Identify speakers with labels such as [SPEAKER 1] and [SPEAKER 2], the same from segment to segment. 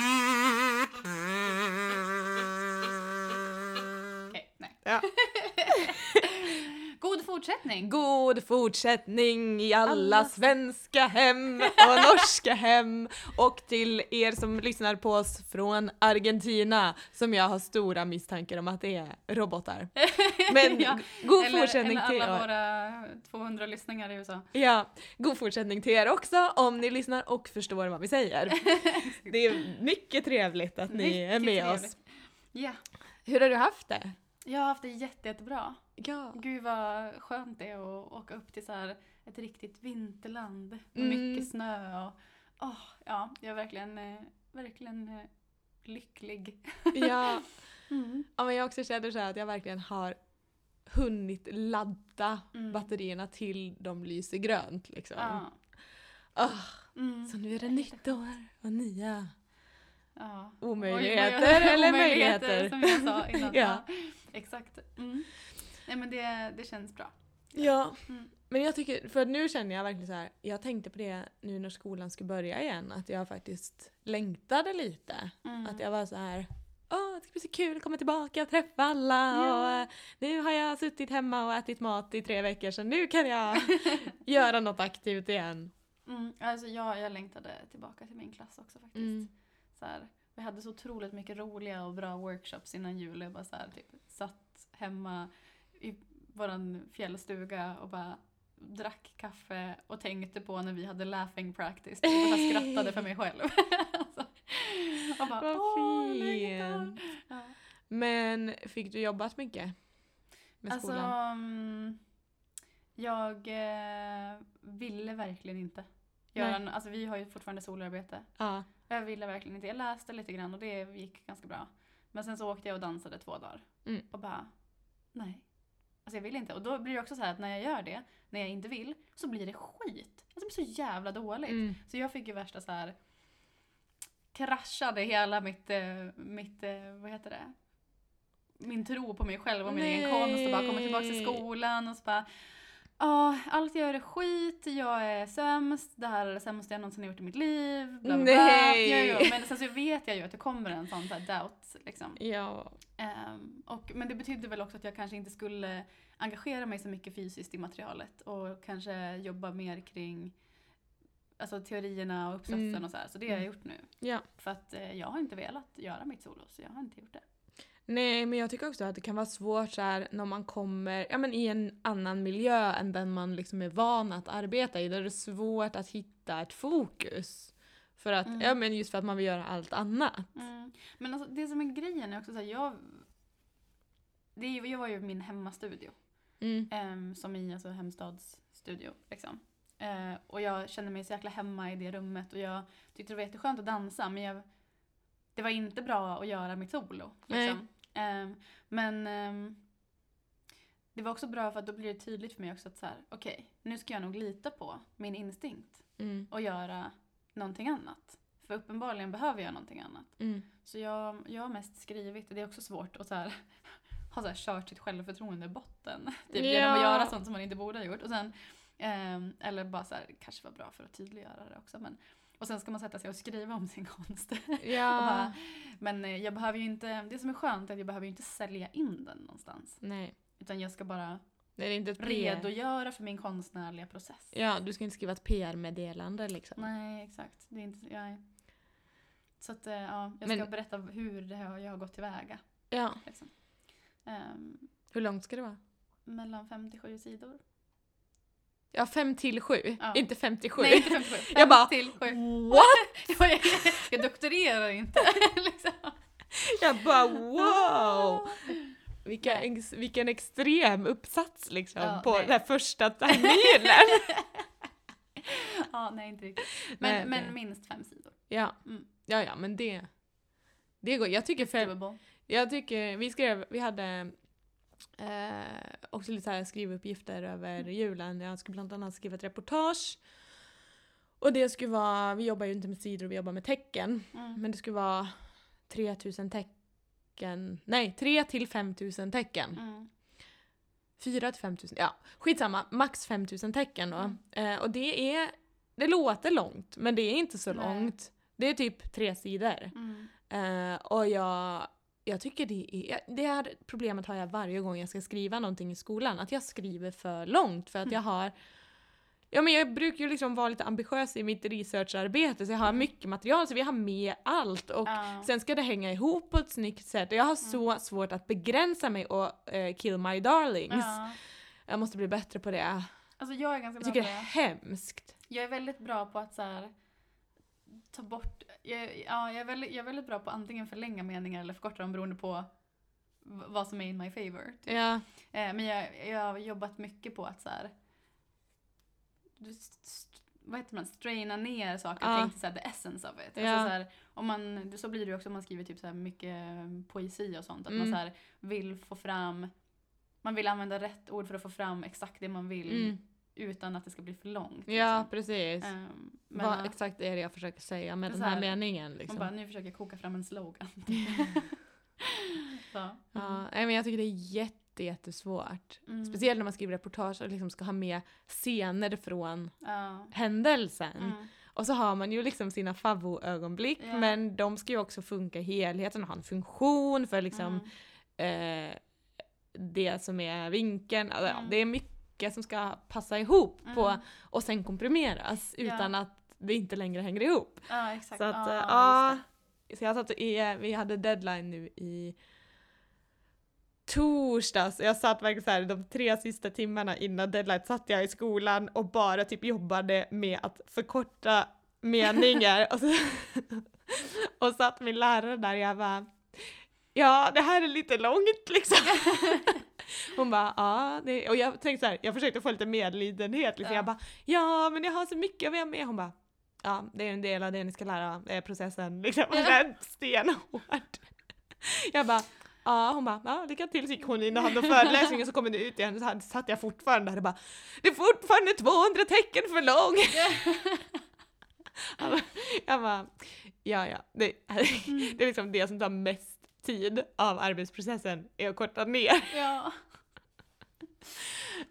[SPEAKER 1] fortsättning!
[SPEAKER 2] God fortsättning i alla, svenska hem och norska hem och till er som lyssnar på oss från Argentina som jag har stora misstankar om att det är robotar. Men
[SPEAKER 1] Ja,
[SPEAKER 2] god
[SPEAKER 1] eller,
[SPEAKER 2] fortsättning
[SPEAKER 1] eller
[SPEAKER 2] till
[SPEAKER 1] alla
[SPEAKER 2] er.
[SPEAKER 1] våra 200 lyssningar i USA.
[SPEAKER 2] Ja, god fortsättning till er också om ni lyssnar och förstår vad vi säger. Det är mycket trevligt att ni är
[SPEAKER 1] Mycket
[SPEAKER 2] med oss.
[SPEAKER 1] trevligt. Ja,
[SPEAKER 2] Hur har du haft det?
[SPEAKER 1] jag har haft det jätte, jättebra.
[SPEAKER 2] Ja.
[SPEAKER 1] Gud vad skönt det är att åka upp till så här ett riktigt vinterland med
[SPEAKER 2] Mm.
[SPEAKER 1] mycket snö och åh, ja, jag är verkligen, eh, verkligen eh, lycklig.
[SPEAKER 2] ja. Ja, men jag också känner så här att jag verkligen har hunnit ladda
[SPEAKER 1] Mm.
[SPEAKER 2] batterierna till de lyser grönt. Liksom.
[SPEAKER 1] Ja.
[SPEAKER 2] Ah,
[SPEAKER 1] Mm.
[SPEAKER 2] så nu är det nytt år och nya
[SPEAKER 1] Ja. Oj,
[SPEAKER 2] omöjligheter
[SPEAKER 1] oj, oj,
[SPEAKER 2] eller
[SPEAKER 1] omöjligheter,
[SPEAKER 2] möjligheter.
[SPEAKER 1] Som jag sa innan.
[SPEAKER 2] Ja.
[SPEAKER 1] ja. Exakt. Mm. Nej men det, det känns bra.
[SPEAKER 2] Ja,
[SPEAKER 1] Mm.
[SPEAKER 2] men jag tycker, för nu känner jag verkligen så här, jag tänkte på det nu när skolan ska börja igen, att jag faktiskt längtade lite.
[SPEAKER 1] Mm.
[SPEAKER 2] Att jag var så här, åh det ska bli så kul att komma tillbaka och träffa alla och
[SPEAKER 1] Ja.
[SPEAKER 2] eh, nu har jag suttit hemma och ätit mat i tre veckor så nu kan jag göra något aktivt igen.
[SPEAKER 1] Mm, alltså jag, jag längtade tillbaka till min klass också faktiskt.
[SPEAKER 2] Mm.
[SPEAKER 1] Så här, vi hade så otroligt mycket roliga och bra workshops innan jul. Jag bara så här, typ, satt hemma i vår fjällstuga och bara drack kaffe och tänkte på när vi hade laughing practice. Typ, Och bara skrattade för mig själv. alltså, och bara,
[SPEAKER 2] Vad
[SPEAKER 1] "Åh, längtar."
[SPEAKER 2] fint!
[SPEAKER 1] Ja.
[SPEAKER 2] Men fick du jobbat mycket med
[SPEAKER 1] Alltså,
[SPEAKER 2] skolan?
[SPEAKER 1] mm, jag eh, ville verkligen inte. Göra
[SPEAKER 2] Nej.
[SPEAKER 1] nå- alltså, vi har ju fortfarande solarbete.
[SPEAKER 2] Ja.
[SPEAKER 1] Och Jag ville verkligen inte. Jag läste lite grann och det gick ganska bra. Men sen så åkte jag och dansade två dagar.
[SPEAKER 2] Mm.
[SPEAKER 1] Och bara, nej. Alltså jag vill inte. Och då blir det också så här att när jag gör det, när jag inte vill, så blir det skit. Alltså det blir så jävla dåligt.
[SPEAKER 2] Mm.
[SPEAKER 1] Så jag fick ju värsta så här kraschade hela mitt, eh, mitt, eh, vad heter det? Min tro på mig själv och min egen
[SPEAKER 2] Nej.
[SPEAKER 1] konst och bara komma tillbaka till skolan och så bara Ja, allt jag gör är skit, jag är sämst, det här är det sämsta jag någonsin har gjort i mitt liv, bla bla bla.
[SPEAKER 2] Nej.
[SPEAKER 1] Jo, jo, men sen så vet jag ju att det kommer en sån så här doubt liksom.
[SPEAKER 2] Ja.
[SPEAKER 1] Ehm, och, men det betydde väl också att jag kanske inte skulle engagera mig så mycket fysiskt i materialet och kanske jobba mer kring alltså, teorierna och uppsatsen
[SPEAKER 2] Mm.
[SPEAKER 1] och så här. Så det har jag gjort nu.
[SPEAKER 2] ja.
[SPEAKER 1] För att eh, jag har inte velat göra mitt solo så jag har inte gjort det.
[SPEAKER 2] Nej men jag tycker också att det kan vara svårt så här, när man kommer ja, men i en annan miljö än den man liksom är van att arbeta i. Där det är svårt att hitta ett fokus. För att,
[SPEAKER 1] Mm.
[SPEAKER 2] ja, men just för att man vill göra allt annat.
[SPEAKER 1] Mm. Men alltså, det som är grejen är också så här, jag, det är, ju- jag var ju i min hemmastudio.
[SPEAKER 2] Mm.
[SPEAKER 1] Ehm, som i alltså, hemstadsstudio. Liksom. Eh, och jag kände mig så jäkla hemma i det rummet och jag tyckte det var jätteskönt att dansa men jag, det var inte bra att göra mitt solo. Liksom. Ehm, men ehm, det var också bra för att då blir det tydligt för mig också att så här, okej, nu ska jag nog lita på min instinkt
[SPEAKER 2] Mm.
[SPEAKER 1] och göra någonting annat. För uppenbarligen behöver jag någonting annat.
[SPEAKER 2] Mm.
[SPEAKER 1] Så jag, jag har mest skrivit, och det är också svårt att så här, ha så här kört sitt självförtroende i botten. Typ
[SPEAKER 2] Ja.
[SPEAKER 1] genom att göra sånt som man inte borde ha gjort. Och sen, ehm, eller bara så här, kanske var bra för att tydliggöra det också. Men, och sen ska man sätta sig och skriva om sin konst. Och
[SPEAKER 2] Ja.
[SPEAKER 1] bara, men eh, jag behöver ju inte, det som är skönt är att jag behöver ju inte sälja in den någonstans.
[SPEAKER 2] Nej.
[SPEAKER 1] Utan jag ska bara
[SPEAKER 2] Det är inte ett PR.
[SPEAKER 1] redogöra för min konstnärliga process.
[SPEAKER 2] Ja, du ska inte skriva ett PR-meddelande liksom.
[SPEAKER 1] Nej, exakt. Det är inte, jag är... Så att, eh, ja, jag ska
[SPEAKER 2] Men-
[SPEAKER 1] berätta hur det har, jag har gått tillväga.
[SPEAKER 2] Ja.
[SPEAKER 1] Liksom. Ehm,
[SPEAKER 2] Hur långt ska det vara?
[SPEAKER 1] mellan 57 sidor.
[SPEAKER 2] Ja, fem till sju.
[SPEAKER 1] Ja.
[SPEAKER 2] Inte 57.
[SPEAKER 1] Nej, inte 57. Fem
[SPEAKER 2] Jag bara,
[SPEAKER 1] till sju.
[SPEAKER 2] What?
[SPEAKER 1] Jag, jag doktorerar inte. liksom.
[SPEAKER 2] Jag bara wow! Vilka ex, vilken extrem uppsats liksom
[SPEAKER 1] Ja,
[SPEAKER 2] på
[SPEAKER 1] nej.
[SPEAKER 2] den här första terminen.
[SPEAKER 1] Ja, nej, inte riktigt. Men,
[SPEAKER 2] Nej,
[SPEAKER 1] men
[SPEAKER 2] nej.
[SPEAKER 1] minst fem sidor.
[SPEAKER 2] ja.
[SPEAKER 1] Mm.
[SPEAKER 2] ja, ja men det. Det går. Jag tycker fem,
[SPEAKER 1] Doable.
[SPEAKER 2] jag tycker, vi skrev, vi hade eh, också lite så här skrivuppgifter över
[SPEAKER 1] Mm.
[SPEAKER 2] julen. Jag skulle bland annat skriva ett reportage. Och det skulle vara, vi jobbar ju inte med sidor, vi jobbar med tecken.
[SPEAKER 1] Mm.
[SPEAKER 2] Men det skulle vara 3000 tecken, nej 3 till 5000 tecken.
[SPEAKER 1] Mm.
[SPEAKER 2] 4 till 5 000, ja skitsamma, max 5 000 tecken då.
[SPEAKER 1] Mm.
[SPEAKER 2] Eh, och det är, det låter långt men det är inte så
[SPEAKER 1] Nej.
[SPEAKER 2] långt. Det är typ tre sidor.
[SPEAKER 1] Mm.
[SPEAKER 2] Eh, och jag, Jag tycker det är, det här problemet har jag varje gång jag ska skriva någonting i skolan, att jag skriver för långt för att
[SPEAKER 1] Mm.
[SPEAKER 2] jag har Ja men jag brukar ju liksom vara lite ambitiös i mitt researcharbete så jag har mycket material så vi har med allt och
[SPEAKER 1] Mm. Ja. Mm.
[SPEAKER 2] sen ska det hänga ihop på ett snyggt sätt. Jag har så svårt att begränsa mig och eh, kill my darlings.
[SPEAKER 1] Ja.
[SPEAKER 2] Jag måste bli bättre på det.
[SPEAKER 1] Alltså jag är ganska
[SPEAKER 2] Jag
[SPEAKER 1] bra
[SPEAKER 2] tycker
[SPEAKER 1] på
[SPEAKER 2] det
[SPEAKER 1] det.
[SPEAKER 2] är hemskt.
[SPEAKER 1] Jag är väldigt bra på att så här, ta bort, jag, ja, jag, är väldigt, jag är väldigt bra på att antingen förlänga meningar eller förkorta dem beroende på v- vad som är in my favor. Typ.
[SPEAKER 2] Ja.
[SPEAKER 1] Eh, men jag, jag har jobbat mycket på att så här, du st- st- vad heter man, straina ner saker och
[SPEAKER 2] Ja.
[SPEAKER 1] ting till så här, the essence of it.
[SPEAKER 2] Ja.
[SPEAKER 1] Alltså, så, här, om man, så blir det ju också om man skriver typ så här mycket poesi och sånt, att
[SPEAKER 2] Mm.
[SPEAKER 1] man så här, vill få fram, man vill använda rätt ord för att få fram exakt det man vill
[SPEAKER 2] Mm.
[SPEAKER 1] utan att det ska bli för långt.
[SPEAKER 2] Ja,
[SPEAKER 1] liksom.
[SPEAKER 2] precis.
[SPEAKER 1] Ehm, men,
[SPEAKER 2] Vad
[SPEAKER 1] ja,
[SPEAKER 2] exakt är det jag försöker säga med
[SPEAKER 1] Men
[SPEAKER 2] den
[SPEAKER 1] så
[SPEAKER 2] här,
[SPEAKER 1] här,
[SPEAKER 2] meningen? Liksom?
[SPEAKER 1] man bara, nu försöker jag koka fram en slogan. så. mm.
[SPEAKER 2] ja, nej, men jag tycker det är jätte, jättesvårt.
[SPEAKER 1] Mm.
[SPEAKER 2] Speciellt när man skriver reportage och liksom ska ha med scener från
[SPEAKER 1] Ja.
[SPEAKER 2] händelsen.
[SPEAKER 1] Mm.
[SPEAKER 2] Och så har man ju liksom sina favvoögonblick
[SPEAKER 1] Ja.
[SPEAKER 2] men de ska ju också funka i helheten och ha en funktion för liksom
[SPEAKER 1] Mm.
[SPEAKER 2] eh, det som är vinkeln. Alltså, ja,
[SPEAKER 1] Mm.
[SPEAKER 2] Det är mycket som ska passa ihop på,
[SPEAKER 1] Mm.
[SPEAKER 2] och sen komprimeras
[SPEAKER 1] Ja.
[SPEAKER 2] utan att det inte längre hänger ihop.
[SPEAKER 1] Ja, exakt.
[SPEAKER 2] Så att,
[SPEAKER 1] Ja,
[SPEAKER 2] eh,
[SPEAKER 1] just
[SPEAKER 2] ja.
[SPEAKER 1] det.
[SPEAKER 2] Så jag satt i, eh, vi hade deadline nu i torsdags. Jag satt verkligen så här, de tre sista timmarna innan deadline satt jag i skolan och bara typ jobbade med att förkorta meningar. och, så, och satt min lärare där och jag bara, ja det här är lite långt liksom. Hon bara, ja. Det, och jag tänkte så här, jag försökte få lite medlidenhet. Liksom.
[SPEAKER 1] Ja.
[SPEAKER 2] Jag bara, ja men jag har så mycket att vara med. Hon bara, ja det är en del av det ni ska lära er, processen. Liksom. Hon är stenhård. Jag bara, ja hon bara, ja lycka till. Så gick hon in och hade föreläsningen så kom det ut igen. Så hade- satt jag fortfarande där och bara, det är fortfarande 200 tecken för lång. Jag bara- Jag bara, ja ja. Det,
[SPEAKER 1] Mm.
[SPEAKER 2] det är liksom det som tar mest tid av arbetsprocessen, är att korta ner.
[SPEAKER 1] Ja,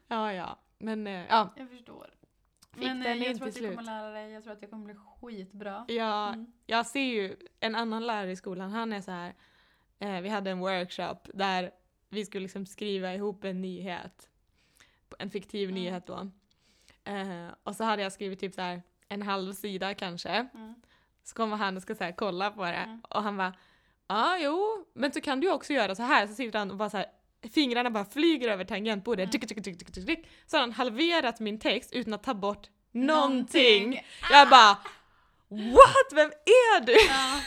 [SPEAKER 2] Ja, ja. Men eh, ja.
[SPEAKER 1] jag förstår.
[SPEAKER 2] Fick
[SPEAKER 1] Men eh,
[SPEAKER 2] den
[SPEAKER 1] jag
[SPEAKER 2] inte
[SPEAKER 1] tror att
[SPEAKER 2] slut.
[SPEAKER 1] jag kommer lära dig, jag tror att jag kommer bli skitbra.
[SPEAKER 2] Jag,
[SPEAKER 1] Mm.
[SPEAKER 2] jag ser ju en annan lärare i skolan, han är så här. Eh, vi hade en workshop där vi skulle liksom skriva ihop en nyhet. En fiktiv
[SPEAKER 1] Mm.
[SPEAKER 2] nyhet då. Eh, och så hade jag skrivit typ så här en halv sida kanske.
[SPEAKER 1] Mm.
[SPEAKER 2] Så kommer han och ska så här kolla på det
[SPEAKER 1] Mm.
[SPEAKER 2] och han bara ja ah, jo men så kan du också göra så här så sitter han och bara så här fingrarna bara flyger över tangentbordet.
[SPEAKER 1] Mm.
[SPEAKER 2] Tick, tick, tick, tick, tick, tick. Så har han halverat min text utan att ta bort någonting.
[SPEAKER 1] Någonting. Ah.
[SPEAKER 2] Jag bara What? Vem är du?
[SPEAKER 1] Ja.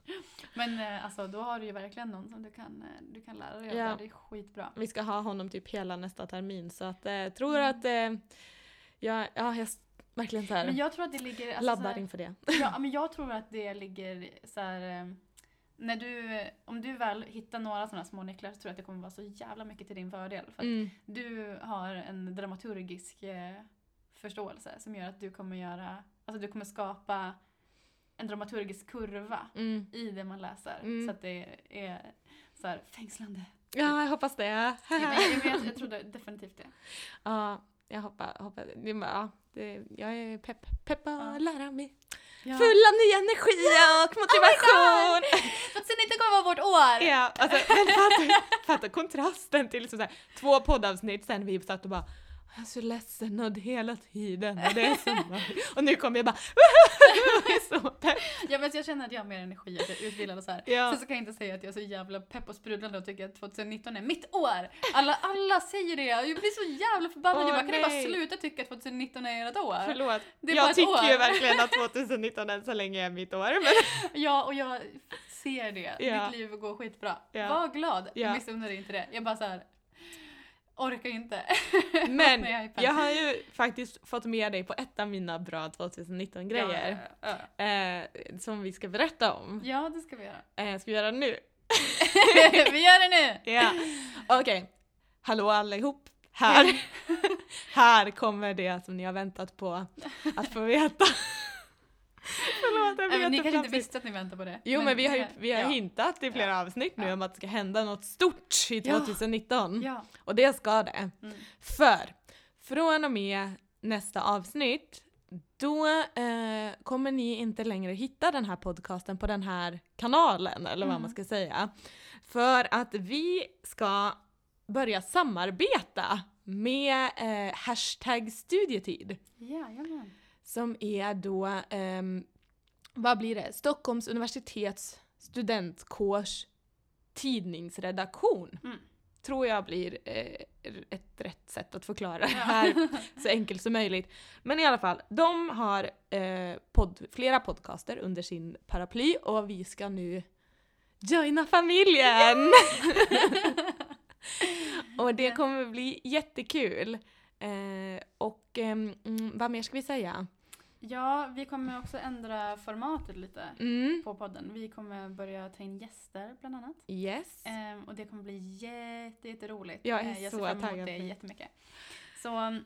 [SPEAKER 1] Men eh, alltså då har du ju verkligen någon som du kan, eh, du kan lära dig av.
[SPEAKER 2] Ja.
[SPEAKER 1] där. Det är skitbra.
[SPEAKER 2] Vi ska ha honom typ hela nästa termin så att eh, tror
[SPEAKER 1] Mm.
[SPEAKER 2] att eh, jag, ja, jag s- verkligen så här
[SPEAKER 1] Men jag tror att det ligger... Alltså, så
[SPEAKER 2] labbar
[SPEAKER 1] här-
[SPEAKER 2] inför det.
[SPEAKER 1] Ja, men jag tror att det ligger så här. eh, När du, om du väl hittar några sådana små nycklar så tror jag att det kommer vara så jävla mycket till din fördel. För att
[SPEAKER 2] Mm.
[SPEAKER 1] Du har en dramaturgisk eh, förståelse som gör att du kommer göra, alltså du kommer skapa en dramaturgisk kurva
[SPEAKER 2] Mm.
[SPEAKER 1] i det man läser.
[SPEAKER 2] Mm.
[SPEAKER 1] Så att det är så här fängslande.
[SPEAKER 2] Ja, jag hoppas det.
[SPEAKER 1] Jag, jag, jag, jag trodde definitivt det.
[SPEAKER 2] Ja, jag hoppas, hoppas det, men ja, det. Jag är pepp, pepp att
[SPEAKER 1] Ja.
[SPEAKER 2] lära mig.
[SPEAKER 1] Ja.
[SPEAKER 2] Full av ny energi och motivation!
[SPEAKER 1] 2019 kommer vara vårt år!
[SPEAKER 2] ja, alltså, men fatta, fatta kontrasten till liksom så här, två poddavsnitt sen vi satt och bara jag är så ledsen och det hela tiden och det är så bra." Och nu kommer jag bara jag är så pepp.
[SPEAKER 1] Ja, men så jag känner att jag har mer energi, att jag är utvilad och så här.
[SPEAKER 2] Ja.
[SPEAKER 1] Sen så kan jag inte säga att jag är så jävla pepp och sprudlande och tycker att 2019 är mitt år! Alla, alla säger det och jag blir så jävla förbannad.
[SPEAKER 2] Åh,
[SPEAKER 1] jag bara, kan ni bara
[SPEAKER 2] nej.
[SPEAKER 1] sluta tycka att 2019 är ert år?
[SPEAKER 2] Förlåt.
[SPEAKER 1] Det är bara
[SPEAKER 2] jag
[SPEAKER 1] ett
[SPEAKER 2] tycker
[SPEAKER 1] år.
[SPEAKER 2] ju verkligen att 2019 än så länge är mitt år. Men
[SPEAKER 1] Ja, och jag ser det.
[SPEAKER 2] Ja.
[SPEAKER 1] Ditt liv går skitbra.
[SPEAKER 2] Ja.
[SPEAKER 1] Var glad.
[SPEAKER 2] Ja.
[SPEAKER 1] Jag missunnar dig inte det. Jag bara så här orkar inte.
[SPEAKER 2] Men
[SPEAKER 1] Med iPad.
[SPEAKER 2] jag har ju faktiskt fått med dig på ett av mina bra 2019-grejer.
[SPEAKER 1] Ja, ja,
[SPEAKER 2] Eh, som vi ska berätta om.
[SPEAKER 1] ja. ja, det ska vi göra.
[SPEAKER 2] Eh, ska vi göra det nu?
[SPEAKER 1] vi gör det nu!
[SPEAKER 2] Ja. Okej. Hallå allihop. Här. här kommer det som ni har väntat på att få veta. Förlåt,
[SPEAKER 1] Nej,
[SPEAKER 2] jag blev
[SPEAKER 1] men ni kanske inte
[SPEAKER 2] jätteflamsig.
[SPEAKER 1] visste att ni väntade på det.
[SPEAKER 2] Jo men vi har, ju, vi har
[SPEAKER 1] ja.
[SPEAKER 2] hintat i flera avsnitt nu
[SPEAKER 1] Ja.
[SPEAKER 2] om att det ska hända något stort i
[SPEAKER 1] Ja.
[SPEAKER 2] 2019.
[SPEAKER 1] Ja.
[SPEAKER 2] Och det ska det.
[SPEAKER 1] Mm.
[SPEAKER 2] För från och med nästa avsnitt Då eh, kommer ni inte längre hitta den här podcasten på den här kanalen, eller vad
[SPEAKER 1] Mm.
[SPEAKER 2] man ska säga. För att vi ska börja samarbeta med eh, hashtag studietid.
[SPEAKER 1] Jajamän.
[SPEAKER 2] Som är då, ehm, vad blir det? Stockholms universitets studentkårs tidningsredaktion.
[SPEAKER 1] Mm.
[SPEAKER 2] Tror jag blir eh, ett rätt sätt att förklara det här så enkelt som möjligt. Men i alla fall, de har eh, podd, flera podcaster under sin paraply och vi ska nu joina familjen! och det kommer bli jättekul. Eh, och ehm, mm, vad mer ska vi säga?
[SPEAKER 1] Ja, vi kommer också ändra formatet lite
[SPEAKER 2] Mm.
[SPEAKER 1] på podden. Vi kommer börja ta in gäster bland annat.
[SPEAKER 2] Yes.
[SPEAKER 1] Ehm, och det kommer bli jätte, jätteroligt.
[SPEAKER 2] Jag är
[SPEAKER 1] Eh, jag ser
[SPEAKER 2] så
[SPEAKER 1] fram emot
[SPEAKER 2] taggad
[SPEAKER 1] det
[SPEAKER 2] på det.
[SPEAKER 1] jättemycket. Så um,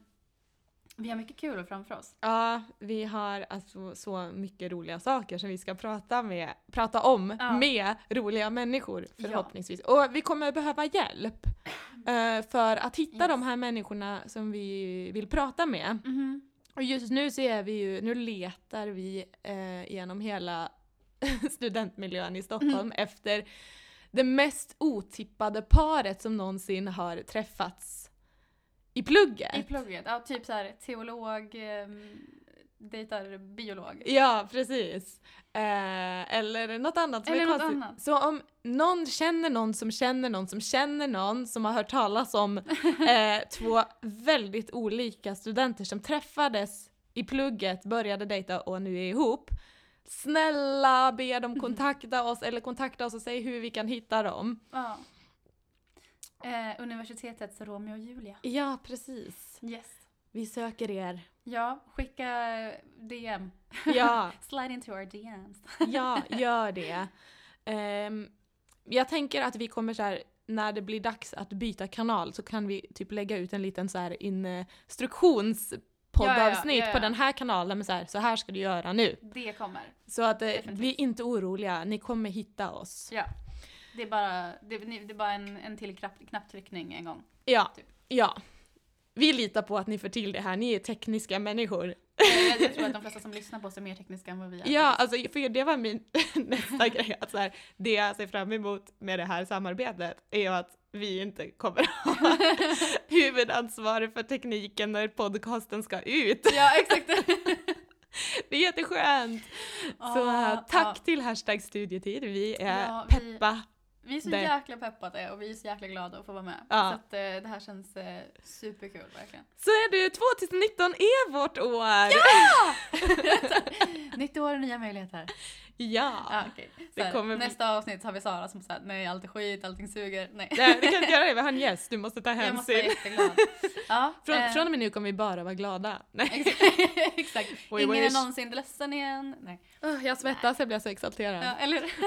[SPEAKER 1] vi har mycket kul framför oss.
[SPEAKER 2] Ja, vi har alltså så mycket roliga saker som vi ska prata, med, prata om
[SPEAKER 1] Ja.
[SPEAKER 2] med roliga människor
[SPEAKER 1] Ja.
[SPEAKER 2] förhoppningsvis. Och vi kommer behöva hjälp eh, för att hitta
[SPEAKER 1] Yes.
[SPEAKER 2] de här människorna som vi vill prata med.
[SPEAKER 1] Mhm.
[SPEAKER 2] Och just nu så är vi ju, nu letar vi eh, genom hela studentmiljön i Stockholm
[SPEAKER 1] Mm.
[SPEAKER 2] efter det mest otippade paret som någonsin har träffats i plugget.
[SPEAKER 1] I plugget, ja, typ så här teolog, um, dejtar biolog.
[SPEAKER 2] Ja, precis. Eh, eller något annat som
[SPEAKER 1] Eller
[SPEAKER 2] är
[SPEAKER 1] något
[SPEAKER 2] konstigt.
[SPEAKER 1] annat.
[SPEAKER 2] Så om någon känner någon som känner någon som känner någon som har hört talas om eh, två väldigt olika studenter som träffades i plugget, började dejta och nu är ihop. Snälla be dem kontakta oss eller kontakta oss och säg hur vi kan hitta dem.
[SPEAKER 1] Ja. Eh, universitetets Romeo och Julia.
[SPEAKER 2] Ja, precis.
[SPEAKER 1] Yes.
[SPEAKER 2] Vi söker er.
[SPEAKER 1] Ja, skicka DM.
[SPEAKER 2] Ja.
[SPEAKER 1] Slide into our DMs.
[SPEAKER 2] Ja, gör det. Ehm, jag tänker att vi kommer så här, när det blir dags att byta kanal så kan vi typ lägga ut en liten så här instruktionspoddavsnitt
[SPEAKER 1] Ja, ja, ja, ja.
[SPEAKER 2] på den här kanalen med så här, så här ska du göra nu.
[SPEAKER 1] Det kommer.
[SPEAKER 2] Så att eh,
[SPEAKER 1] Definitivt.
[SPEAKER 2] bli inte oroliga, ni kommer hitta oss.
[SPEAKER 1] Ja. Det är bara, det, ni- det är bara en, en till knapp, knapptryckning en gång.
[SPEAKER 2] Ja,
[SPEAKER 1] Typ.
[SPEAKER 2] ja. Vi litar på att ni får till det här, ni är tekniska människor.
[SPEAKER 1] Eh, Jag tror att de flesta som lyssnar på oss är mer tekniska än vad vi är.
[SPEAKER 2] Ja, alltså för det var min nästa grej. Att så här, det jag ser fram emot med det här samarbetet är ju att vi inte kommer ha huvudansvaret för tekniken när podcasten ska ut.
[SPEAKER 1] Ja, exakt.
[SPEAKER 2] Det är jätteskönt! Så
[SPEAKER 1] Ja,
[SPEAKER 2] eh, tack
[SPEAKER 1] ja.
[SPEAKER 2] till hashtag studietid, vi är
[SPEAKER 1] Ah, Ja, vi-
[SPEAKER 2] peppa.
[SPEAKER 1] Vi är så
[SPEAKER 2] Det.
[SPEAKER 1] jäkla peppade och vi är så jäkla glada att få vara med.
[SPEAKER 2] Ja.
[SPEAKER 1] Så att, eh, det här känns eh, superkul verkligen.
[SPEAKER 2] Så är det, 2019 är vårt år!
[SPEAKER 1] Nytt år och nya möjligheter.
[SPEAKER 2] ja.
[SPEAKER 1] Ja, okej.
[SPEAKER 2] Det
[SPEAKER 1] Så här,
[SPEAKER 2] kommer bli-
[SPEAKER 1] Nästa avsnitt så har vi Sara som säger nej allt är skit, allting suger. Nej.
[SPEAKER 2] Nej, vi kan inte göra det, vi har en gäst, du måste ta
[SPEAKER 1] Jag måste vara
[SPEAKER 2] hänsyn.
[SPEAKER 1] jätteglad. Ja,
[SPEAKER 2] Från,
[SPEAKER 1] eh,
[SPEAKER 2] från och med nu kommer vi bara vara glada. Nej.
[SPEAKER 1] ex- Exakt.
[SPEAKER 2] We
[SPEAKER 1] Ingen
[SPEAKER 2] wish.
[SPEAKER 1] är någonsin ledsen igen. Nej.
[SPEAKER 2] Åh, Jag svettas, jag blir så exalterad.
[SPEAKER 1] Ja, eller hur?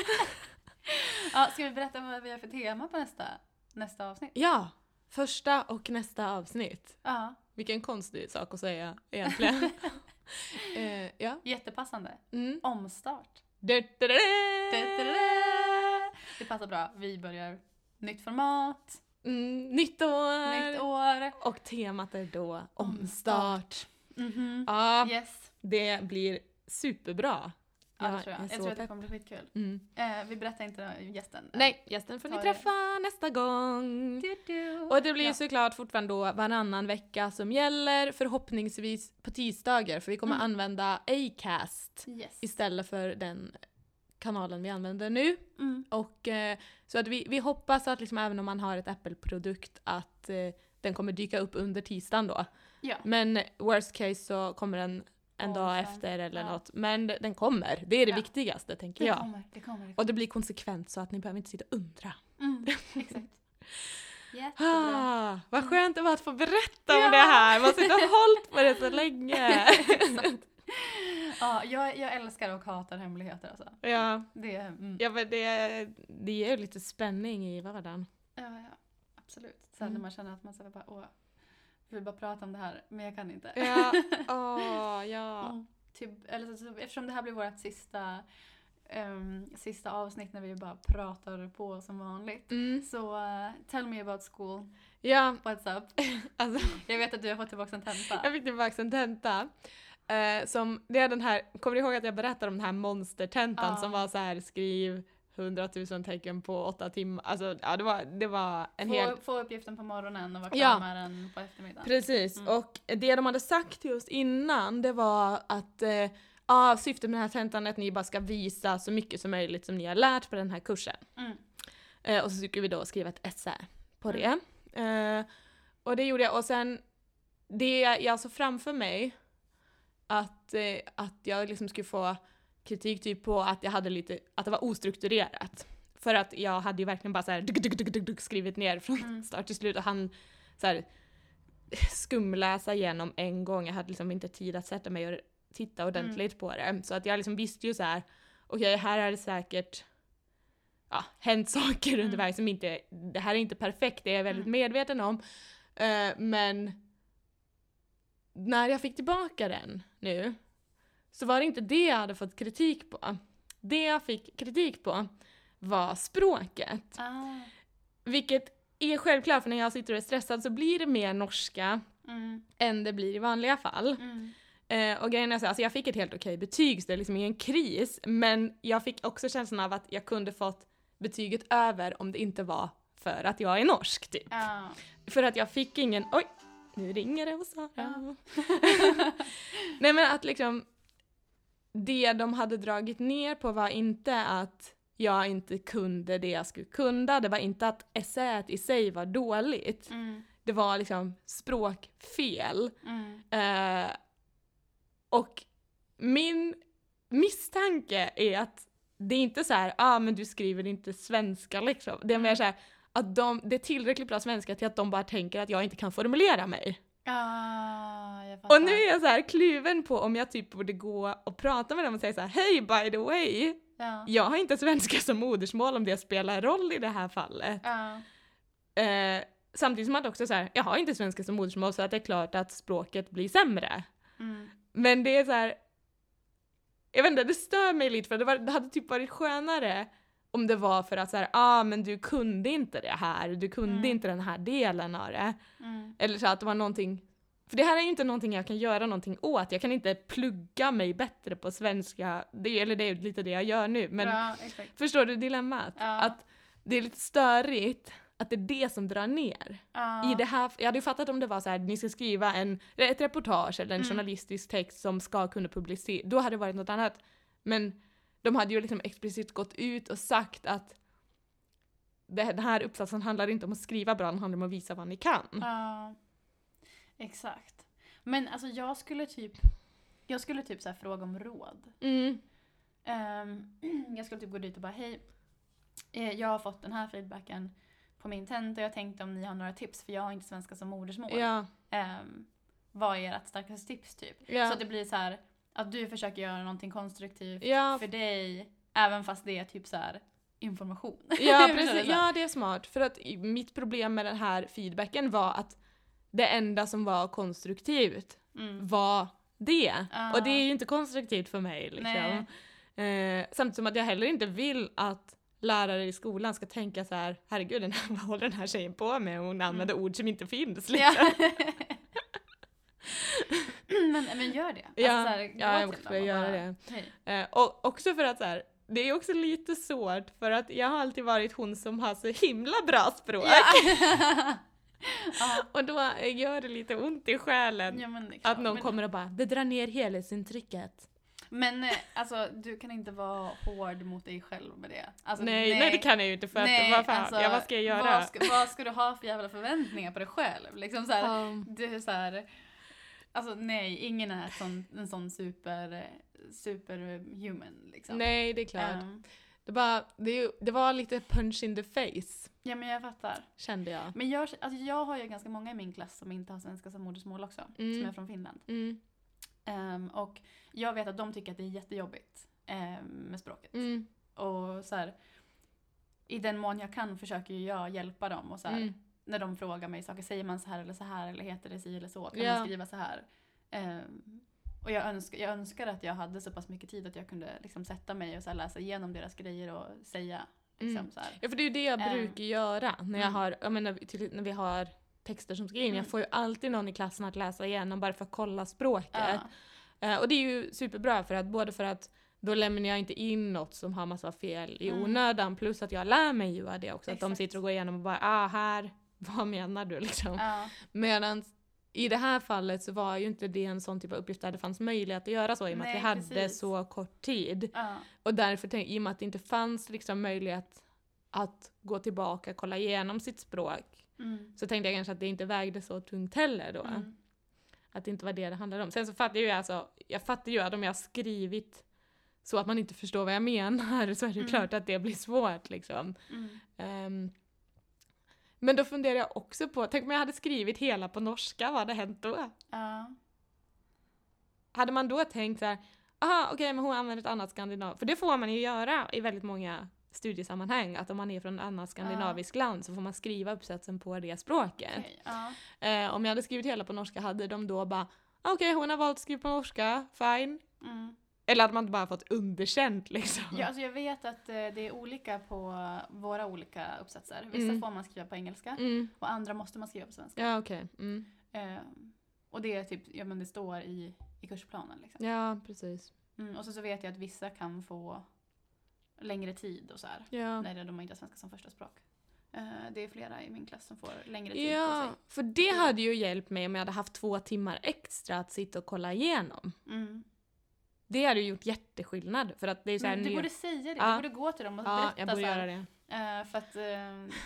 [SPEAKER 1] ja, Ska vi berätta vad vi har för tema på nästa, nästa avsnitt?
[SPEAKER 2] Ja, första och nästa avsnitt.
[SPEAKER 1] Ja,
[SPEAKER 2] Vilken konstig sak att säga egentligen. eh, ja.
[SPEAKER 1] jättepassande.
[SPEAKER 2] Mm.
[SPEAKER 1] Omstart.
[SPEAKER 2] Du, du, du, du.
[SPEAKER 1] Det passar bra. Vi börjar nytt format,
[SPEAKER 2] Mm, nytt år!
[SPEAKER 1] nytt år.
[SPEAKER 2] Och temat är då omstart.
[SPEAKER 1] Omstart. Mhm.
[SPEAKER 2] Ja,
[SPEAKER 1] Yes.
[SPEAKER 2] det blir superbra.
[SPEAKER 1] Ja,
[SPEAKER 2] Jag
[SPEAKER 1] det tror jag.
[SPEAKER 2] är
[SPEAKER 1] Jag
[SPEAKER 2] så
[SPEAKER 1] tror att det
[SPEAKER 2] pepp.
[SPEAKER 1] kommer bli skitkul.
[SPEAKER 2] Mm.
[SPEAKER 1] Eh, vi berättar inte gästen.
[SPEAKER 2] Nej, gästen får ni
[SPEAKER 1] Ta det.
[SPEAKER 2] träffa nästa gång.
[SPEAKER 1] Du, du.
[SPEAKER 2] Och det blir ju
[SPEAKER 1] ja.
[SPEAKER 2] såklart fortfarande då varannan vecka som gäller, förhoppningsvis på tisdagar för vi kommer
[SPEAKER 1] Mm.
[SPEAKER 2] använda Acast.
[SPEAKER 1] Yes.
[SPEAKER 2] istället för den kanalen vi använder nu.
[SPEAKER 1] Mm.
[SPEAKER 2] Och, eh, så att vi, vi hoppas att liksom, även om man har ett Apple-produkt att eh, den kommer dyka upp under tisdagen då.
[SPEAKER 1] Ja.
[SPEAKER 2] Men worst case så kommer den en
[SPEAKER 1] Ja, sen.
[SPEAKER 2] dag efter eller
[SPEAKER 1] Ja.
[SPEAKER 2] något. Men d- den kommer, det är det
[SPEAKER 1] Ja.
[SPEAKER 2] viktigaste tänker
[SPEAKER 1] Det
[SPEAKER 2] jag.
[SPEAKER 1] kommer, det kommer. Det kommer.
[SPEAKER 2] Och det blir konsekvent så att ni behöver inte sitta och undra.
[SPEAKER 1] Mm, exakt. Jättebra.
[SPEAKER 2] Ah, vad skönt det var att få berätta
[SPEAKER 1] Ja.
[SPEAKER 2] om det här! Man har suttit och hållit på det så länge.
[SPEAKER 1] Ja, jag, jag älskar och hatar hemligheter alltså.
[SPEAKER 2] ja,
[SPEAKER 1] Det, mm.
[SPEAKER 2] ja men det, det ger ju lite spänning i vardagen.
[SPEAKER 1] ja, ja, absolut. Sen när
[SPEAKER 2] Mm.
[SPEAKER 1] man känner att man så här bara, åh, jag vill bara prata om det här, men jag kan inte.
[SPEAKER 2] Ja, åh, ja.
[SPEAKER 1] Mm. Typ, eller så, så, eftersom det här blir vårt sista, ehm, sista avsnitt när vi bara pratar på som vanligt.
[SPEAKER 2] Mm.
[SPEAKER 1] Så eh, tell me about school,
[SPEAKER 2] Ja,
[SPEAKER 1] what's up?
[SPEAKER 2] alltså
[SPEAKER 1] Jag vet att du har fått tillbaka en tenta.
[SPEAKER 2] jag fick tillbaka en tenta. Eh, som, det är den här, kommer du ihåg att jag berättade om den här monstertentan
[SPEAKER 1] Ja.
[SPEAKER 2] som var så här skriv 100 000 tecken på åtta timmar. Alltså ja, det var, det var en
[SPEAKER 1] få,
[SPEAKER 2] hel
[SPEAKER 1] få uppgiften på morgonen och vara klar
[SPEAKER 2] Ja.
[SPEAKER 1] med den på eftermiddagen.
[SPEAKER 2] Precis,
[SPEAKER 1] Mm.
[SPEAKER 2] och det de hade sagt till oss innan det var att eh, ah, syftet med den här tentan är att ni bara ska visa så mycket som möjligt som ni har lärt på den här kursen.
[SPEAKER 1] Mm.
[SPEAKER 2] Eh, och så skulle vi då skriva ett essä på det. Eh, och det gjorde jag och sen, det jag såg framför mig att, eh, att jag liksom skulle få kritik typ på att jag hade lite, att det var ostrukturerat. För att jag hade ju verkligen bara så här duk, duk, duk, duk, duk, skrivit ner från
[SPEAKER 1] Mm.
[SPEAKER 2] start till slut och han så här skumläsa igenom en gång. Jag hade liksom inte tid att sätta mig och titta ordentligt på det. Så att jag liksom visste ju så här, okej här är det säkert ja, hänt saker under
[SPEAKER 1] Mm.
[SPEAKER 2] vägen som inte, det här är inte perfekt, det är jag väldigt
[SPEAKER 1] Mm.
[SPEAKER 2] medveten om. Eh, men när jag fick tillbaka den nu så var det inte det jag hade fått kritik på. Det jag fick kritik på var språket.
[SPEAKER 1] Ah.
[SPEAKER 2] Vilket är självklart för när jag sitter och är stressad så blir det mer norska
[SPEAKER 1] Mm.
[SPEAKER 2] än det blir i vanliga fall.
[SPEAKER 1] Mm.
[SPEAKER 2] Eh, och grejen är så här, alltså jag fick ett helt okej betyg så det är liksom ingen kris. Men jag fick också känslan av att jag kunde fått betyget över om det inte var för att jag är norsk typ.
[SPEAKER 1] Ja.
[SPEAKER 2] För att jag fick ingen, oj, nu ringer det hos Sara.
[SPEAKER 1] Ja.
[SPEAKER 2] Nej men att liksom, det de hade dragit ner på var inte att jag inte kunde det jag skulle kunna, det var inte att essät i sig var dåligt.
[SPEAKER 1] Mm.
[SPEAKER 2] Det var liksom språkfel.
[SPEAKER 1] Mm.
[SPEAKER 2] Eh, och min misstanke är att det är inte så här, ah men du skriver inte svenska liksom. Det är mer så här, att de, det är tillräckligt bra svenska till att de bara tänker att jag inte kan formulera mig.
[SPEAKER 1] Ah, jag fattar.
[SPEAKER 2] Och nu är jag så här kluven på om jag typ borde gå och prata med dem och säga så här, hej by the way,
[SPEAKER 1] Ja.
[SPEAKER 2] jag har inte svenska som modersmål om det spelar roll i det här fallet.
[SPEAKER 1] Ja.
[SPEAKER 2] Eh, samtidigt som att också så här, jag har inte svenska som modersmål så att det är klart att språket blir sämre.
[SPEAKER 1] Mm.
[SPEAKER 2] Men det är så här. Jag vet inte, det stör mig lite för det, var, det hade typ varit skönare om det var för att så här, ah men du kunde inte det här, du kunde
[SPEAKER 1] Mm.
[SPEAKER 2] inte den här delen av det.
[SPEAKER 1] Mm.
[SPEAKER 2] Eller så att det var någonting, för det här är ju inte någonting jag kan göra någonting åt, jag kan inte plugga mig bättre på svenska, det, eller det är ju lite det jag gör nu. Men
[SPEAKER 1] Bra, exakt.
[SPEAKER 2] förstår du dilemmat?
[SPEAKER 1] Ja.
[SPEAKER 2] Att det är lite störigt att det är det som drar ner.
[SPEAKER 1] Ja.
[SPEAKER 2] I det här, jag hade ju fattat om det var så här, ni ska skriva en, ett reportage eller en
[SPEAKER 1] Mm.
[SPEAKER 2] journalistisk text som ska kunna publiceras, då hade det varit något annat. Men de hade ju liksom explicit gått ut och sagt att det, den här uppsatsen handlar inte om att skriva bra, den handlar om att visa vad ni kan.
[SPEAKER 1] Ja, exakt. Men alltså jag skulle typ, jag skulle typ så här fråga om råd.
[SPEAKER 2] Mm.
[SPEAKER 1] Ehm, jag skulle typ gå dit och bara hej, eh, jag har fått den här feedbacken på min tenta och jag tänkte om ni har några tips för jag har inte svenska som modersmål.
[SPEAKER 2] Ja,
[SPEAKER 1] Ehm, vad är ert starkaste tips typ? Så
[SPEAKER 2] ja,
[SPEAKER 1] att det blir så här att du försöker göra någonting konstruktivt
[SPEAKER 2] ja,
[SPEAKER 1] för dig även fast det är typ så här information.
[SPEAKER 2] ja,
[SPEAKER 1] Förstår du?
[SPEAKER 2] precis, ja, det är smart. För att i- mitt problem med den här feedbacken var att det enda som var konstruktivt
[SPEAKER 1] Mm.
[SPEAKER 2] var det.
[SPEAKER 1] Ja.
[SPEAKER 2] Och det är ju inte konstruktivt för mig liksom.
[SPEAKER 1] Nej.
[SPEAKER 2] Eh, samtidigt som att jag heller inte vill att lärare i skolan ska tänka så här, herregud den här, vad håller den här tjejen på med? Hon använder ord som inte finns. Liksom.
[SPEAKER 1] Mm. Ja. men, men gör det.
[SPEAKER 2] Ja,
[SPEAKER 1] alltså, så här, gå
[SPEAKER 2] ja, jag
[SPEAKER 1] till
[SPEAKER 2] ska
[SPEAKER 1] dem och
[SPEAKER 2] göra
[SPEAKER 1] bara,
[SPEAKER 2] det.
[SPEAKER 1] "Hej."
[SPEAKER 2] Eh, och också för att så här, det är ju också lite svårt för att jag har alltid varit hon som har så himla bra språk.
[SPEAKER 1] Ja. ja,
[SPEAKER 2] Och då eh, gör det lite ont i själen
[SPEAKER 1] ja, men det är klart.
[SPEAKER 2] att någon
[SPEAKER 1] men,
[SPEAKER 2] kommer och bara, det drar ner helhetsintrycket.
[SPEAKER 1] Men eh, alltså, du kan inte vara hård mot dig själv med det. Alltså,
[SPEAKER 2] nej, nej, det kan jag ju inte för att,
[SPEAKER 1] nej,
[SPEAKER 2] vad fan,
[SPEAKER 1] alltså,
[SPEAKER 2] ja, vad ska jag göra?
[SPEAKER 1] Vad ska, vad ska du ha för jävla förväntningar på dig själv? Liksom så här,
[SPEAKER 2] Ja.
[SPEAKER 1] du är så här, Alltså nej, ingen är ett sån, en sån super, superhuman liksom.
[SPEAKER 2] Nej, det är klart.
[SPEAKER 1] Ehm,
[SPEAKER 2] Det, bara, det, är ju- det var lite punch in the face,
[SPEAKER 1] ja men jag fattar.
[SPEAKER 2] kände jag.
[SPEAKER 1] Men jag, alltså jag har ju ganska många i min klass som inte har svenska som modersmål också,
[SPEAKER 2] Mm.
[SPEAKER 1] som är från Finland.
[SPEAKER 2] Mm,
[SPEAKER 1] Ehm, och jag vet att de tycker att det är jättejobbigt ehm, med språket.
[SPEAKER 2] mm,
[SPEAKER 1] Och så här, i den mån jag kan försöker ju jag hjälpa dem. Och så här,
[SPEAKER 2] mm.
[SPEAKER 1] När de frågar mig saker, säger man så här eller så här eller heter det si eller så? Kan
[SPEAKER 2] Ja.
[SPEAKER 1] man skriva så här? Ehm, och jag önskar, jag önskar att jag hade så pass mycket tid att jag kunde liksom sätta mig och så här läsa igenom deras grejer och säga. Liksom,
[SPEAKER 2] Mm.
[SPEAKER 1] så här.
[SPEAKER 2] Ja, för det är ju det jag
[SPEAKER 1] Ehm.
[SPEAKER 2] brukar göra när jag
[SPEAKER 1] Mm.
[SPEAKER 2] har, jag menar, till, när vi har texter som ska in.
[SPEAKER 1] Mm.
[SPEAKER 2] Jag får ju alltid någon i klassen att läsa igenom bara för att kolla språket.
[SPEAKER 1] Ja.
[SPEAKER 2] Eh, och det är ju superbra för att både för att då lämnar jag inte in något som har massa fel i
[SPEAKER 1] Mm.
[SPEAKER 2] onödan plus att jag lär mig ju av det också. Att de
[SPEAKER 1] Exakt.
[SPEAKER 2] sitter och går igenom och bara ah här, vad menar du liksom?
[SPEAKER 1] Ja.
[SPEAKER 2] Medan i det här fallet så var ju inte det en sån typ av uppgift där det fanns möjlighet att göra så i och med att
[SPEAKER 1] Nej,
[SPEAKER 2] vi hade
[SPEAKER 1] precis.
[SPEAKER 2] så kort tid.
[SPEAKER 1] Ja.
[SPEAKER 2] Och därför, tänk, i och med att det inte fanns liksom möjlighet att gå tillbaka och kolla igenom sitt språk
[SPEAKER 1] Mm.
[SPEAKER 2] så tänkte jag kanske att det inte vägde så tungt heller då.
[SPEAKER 1] Mm.
[SPEAKER 2] Att det inte var det det handlade om. Sen så fattar ju jag alltså, jag fattar ju att om jag har skrivit så att man inte förstår vad jag menar så är det ju
[SPEAKER 1] Mm.
[SPEAKER 2] klart att det blir svårt liksom.
[SPEAKER 1] Mm.
[SPEAKER 2] Ehm, men då funderar jag också på, tänk om jag hade skrivit hela på norska, vad hade hänt då?
[SPEAKER 1] Ja.
[SPEAKER 2] Hade man då tänkt så här, aha okej men hon använder ett annat skandinav, för det får man ju göra i väldigt många studiesammanhang, att om man är från ett annat skandinaviskt land så får man skriva uppsatsen på det språket.
[SPEAKER 1] Okej. Ja.
[SPEAKER 2] Eh, om jag hade skrivit hela på norska hade de då bara, "Ah, okej hon har valt att skriva på norska, fine.
[SPEAKER 1] Mm.
[SPEAKER 2] Eller hade man inte bara fått underkänt liksom?
[SPEAKER 1] Ja, alltså jag vet att eh, det är olika på våra olika uppsatser. Vissa
[SPEAKER 2] Mm.
[SPEAKER 1] får man skriva på engelska
[SPEAKER 2] Mm.
[SPEAKER 1] och andra måste man skriva på svenska.
[SPEAKER 2] Ja okej. Mm.
[SPEAKER 1] Eh, och det är typ, ja men det står i, i kursplanen liksom.
[SPEAKER 2] Ja precis.
[SPEAKER 1] Mm, och så, så vet jag att vissa kan få längre tid och så här.
[SPEAKER 2] Ja.
[SPEAKER 1] När det- de inte har svenska som första språk. Eh, det är flera i min klass som får längre tid
[SPEAKER 2] Ja,
[SPEAKER 1] på
[SPEAKER 2] för det hade ju hjälpt mig om jag hade haft två timmar extra att sitta och kolla igenom.
[SPEAKER 1] sig. Mm.
[SPEAKER 2] Det hade ju gjort jätteskillnad för att det är så här
[SPEAKER 1] Men du
[SPEAKER 2] ny-
[SPEAKER 1] borde säga Mm, det, du
[SPEAKER 2] Ja.
[SPEAKER 1] borde gå till dem och
[SPEAKER 2] Ja, jag
[SPEAKER 1] berätta
[SPEAKER 2] borde
[SPEAKER 1] så här.
[SPEAKER 2] göra det.
[SPEAKER 1] Eh, för att eh,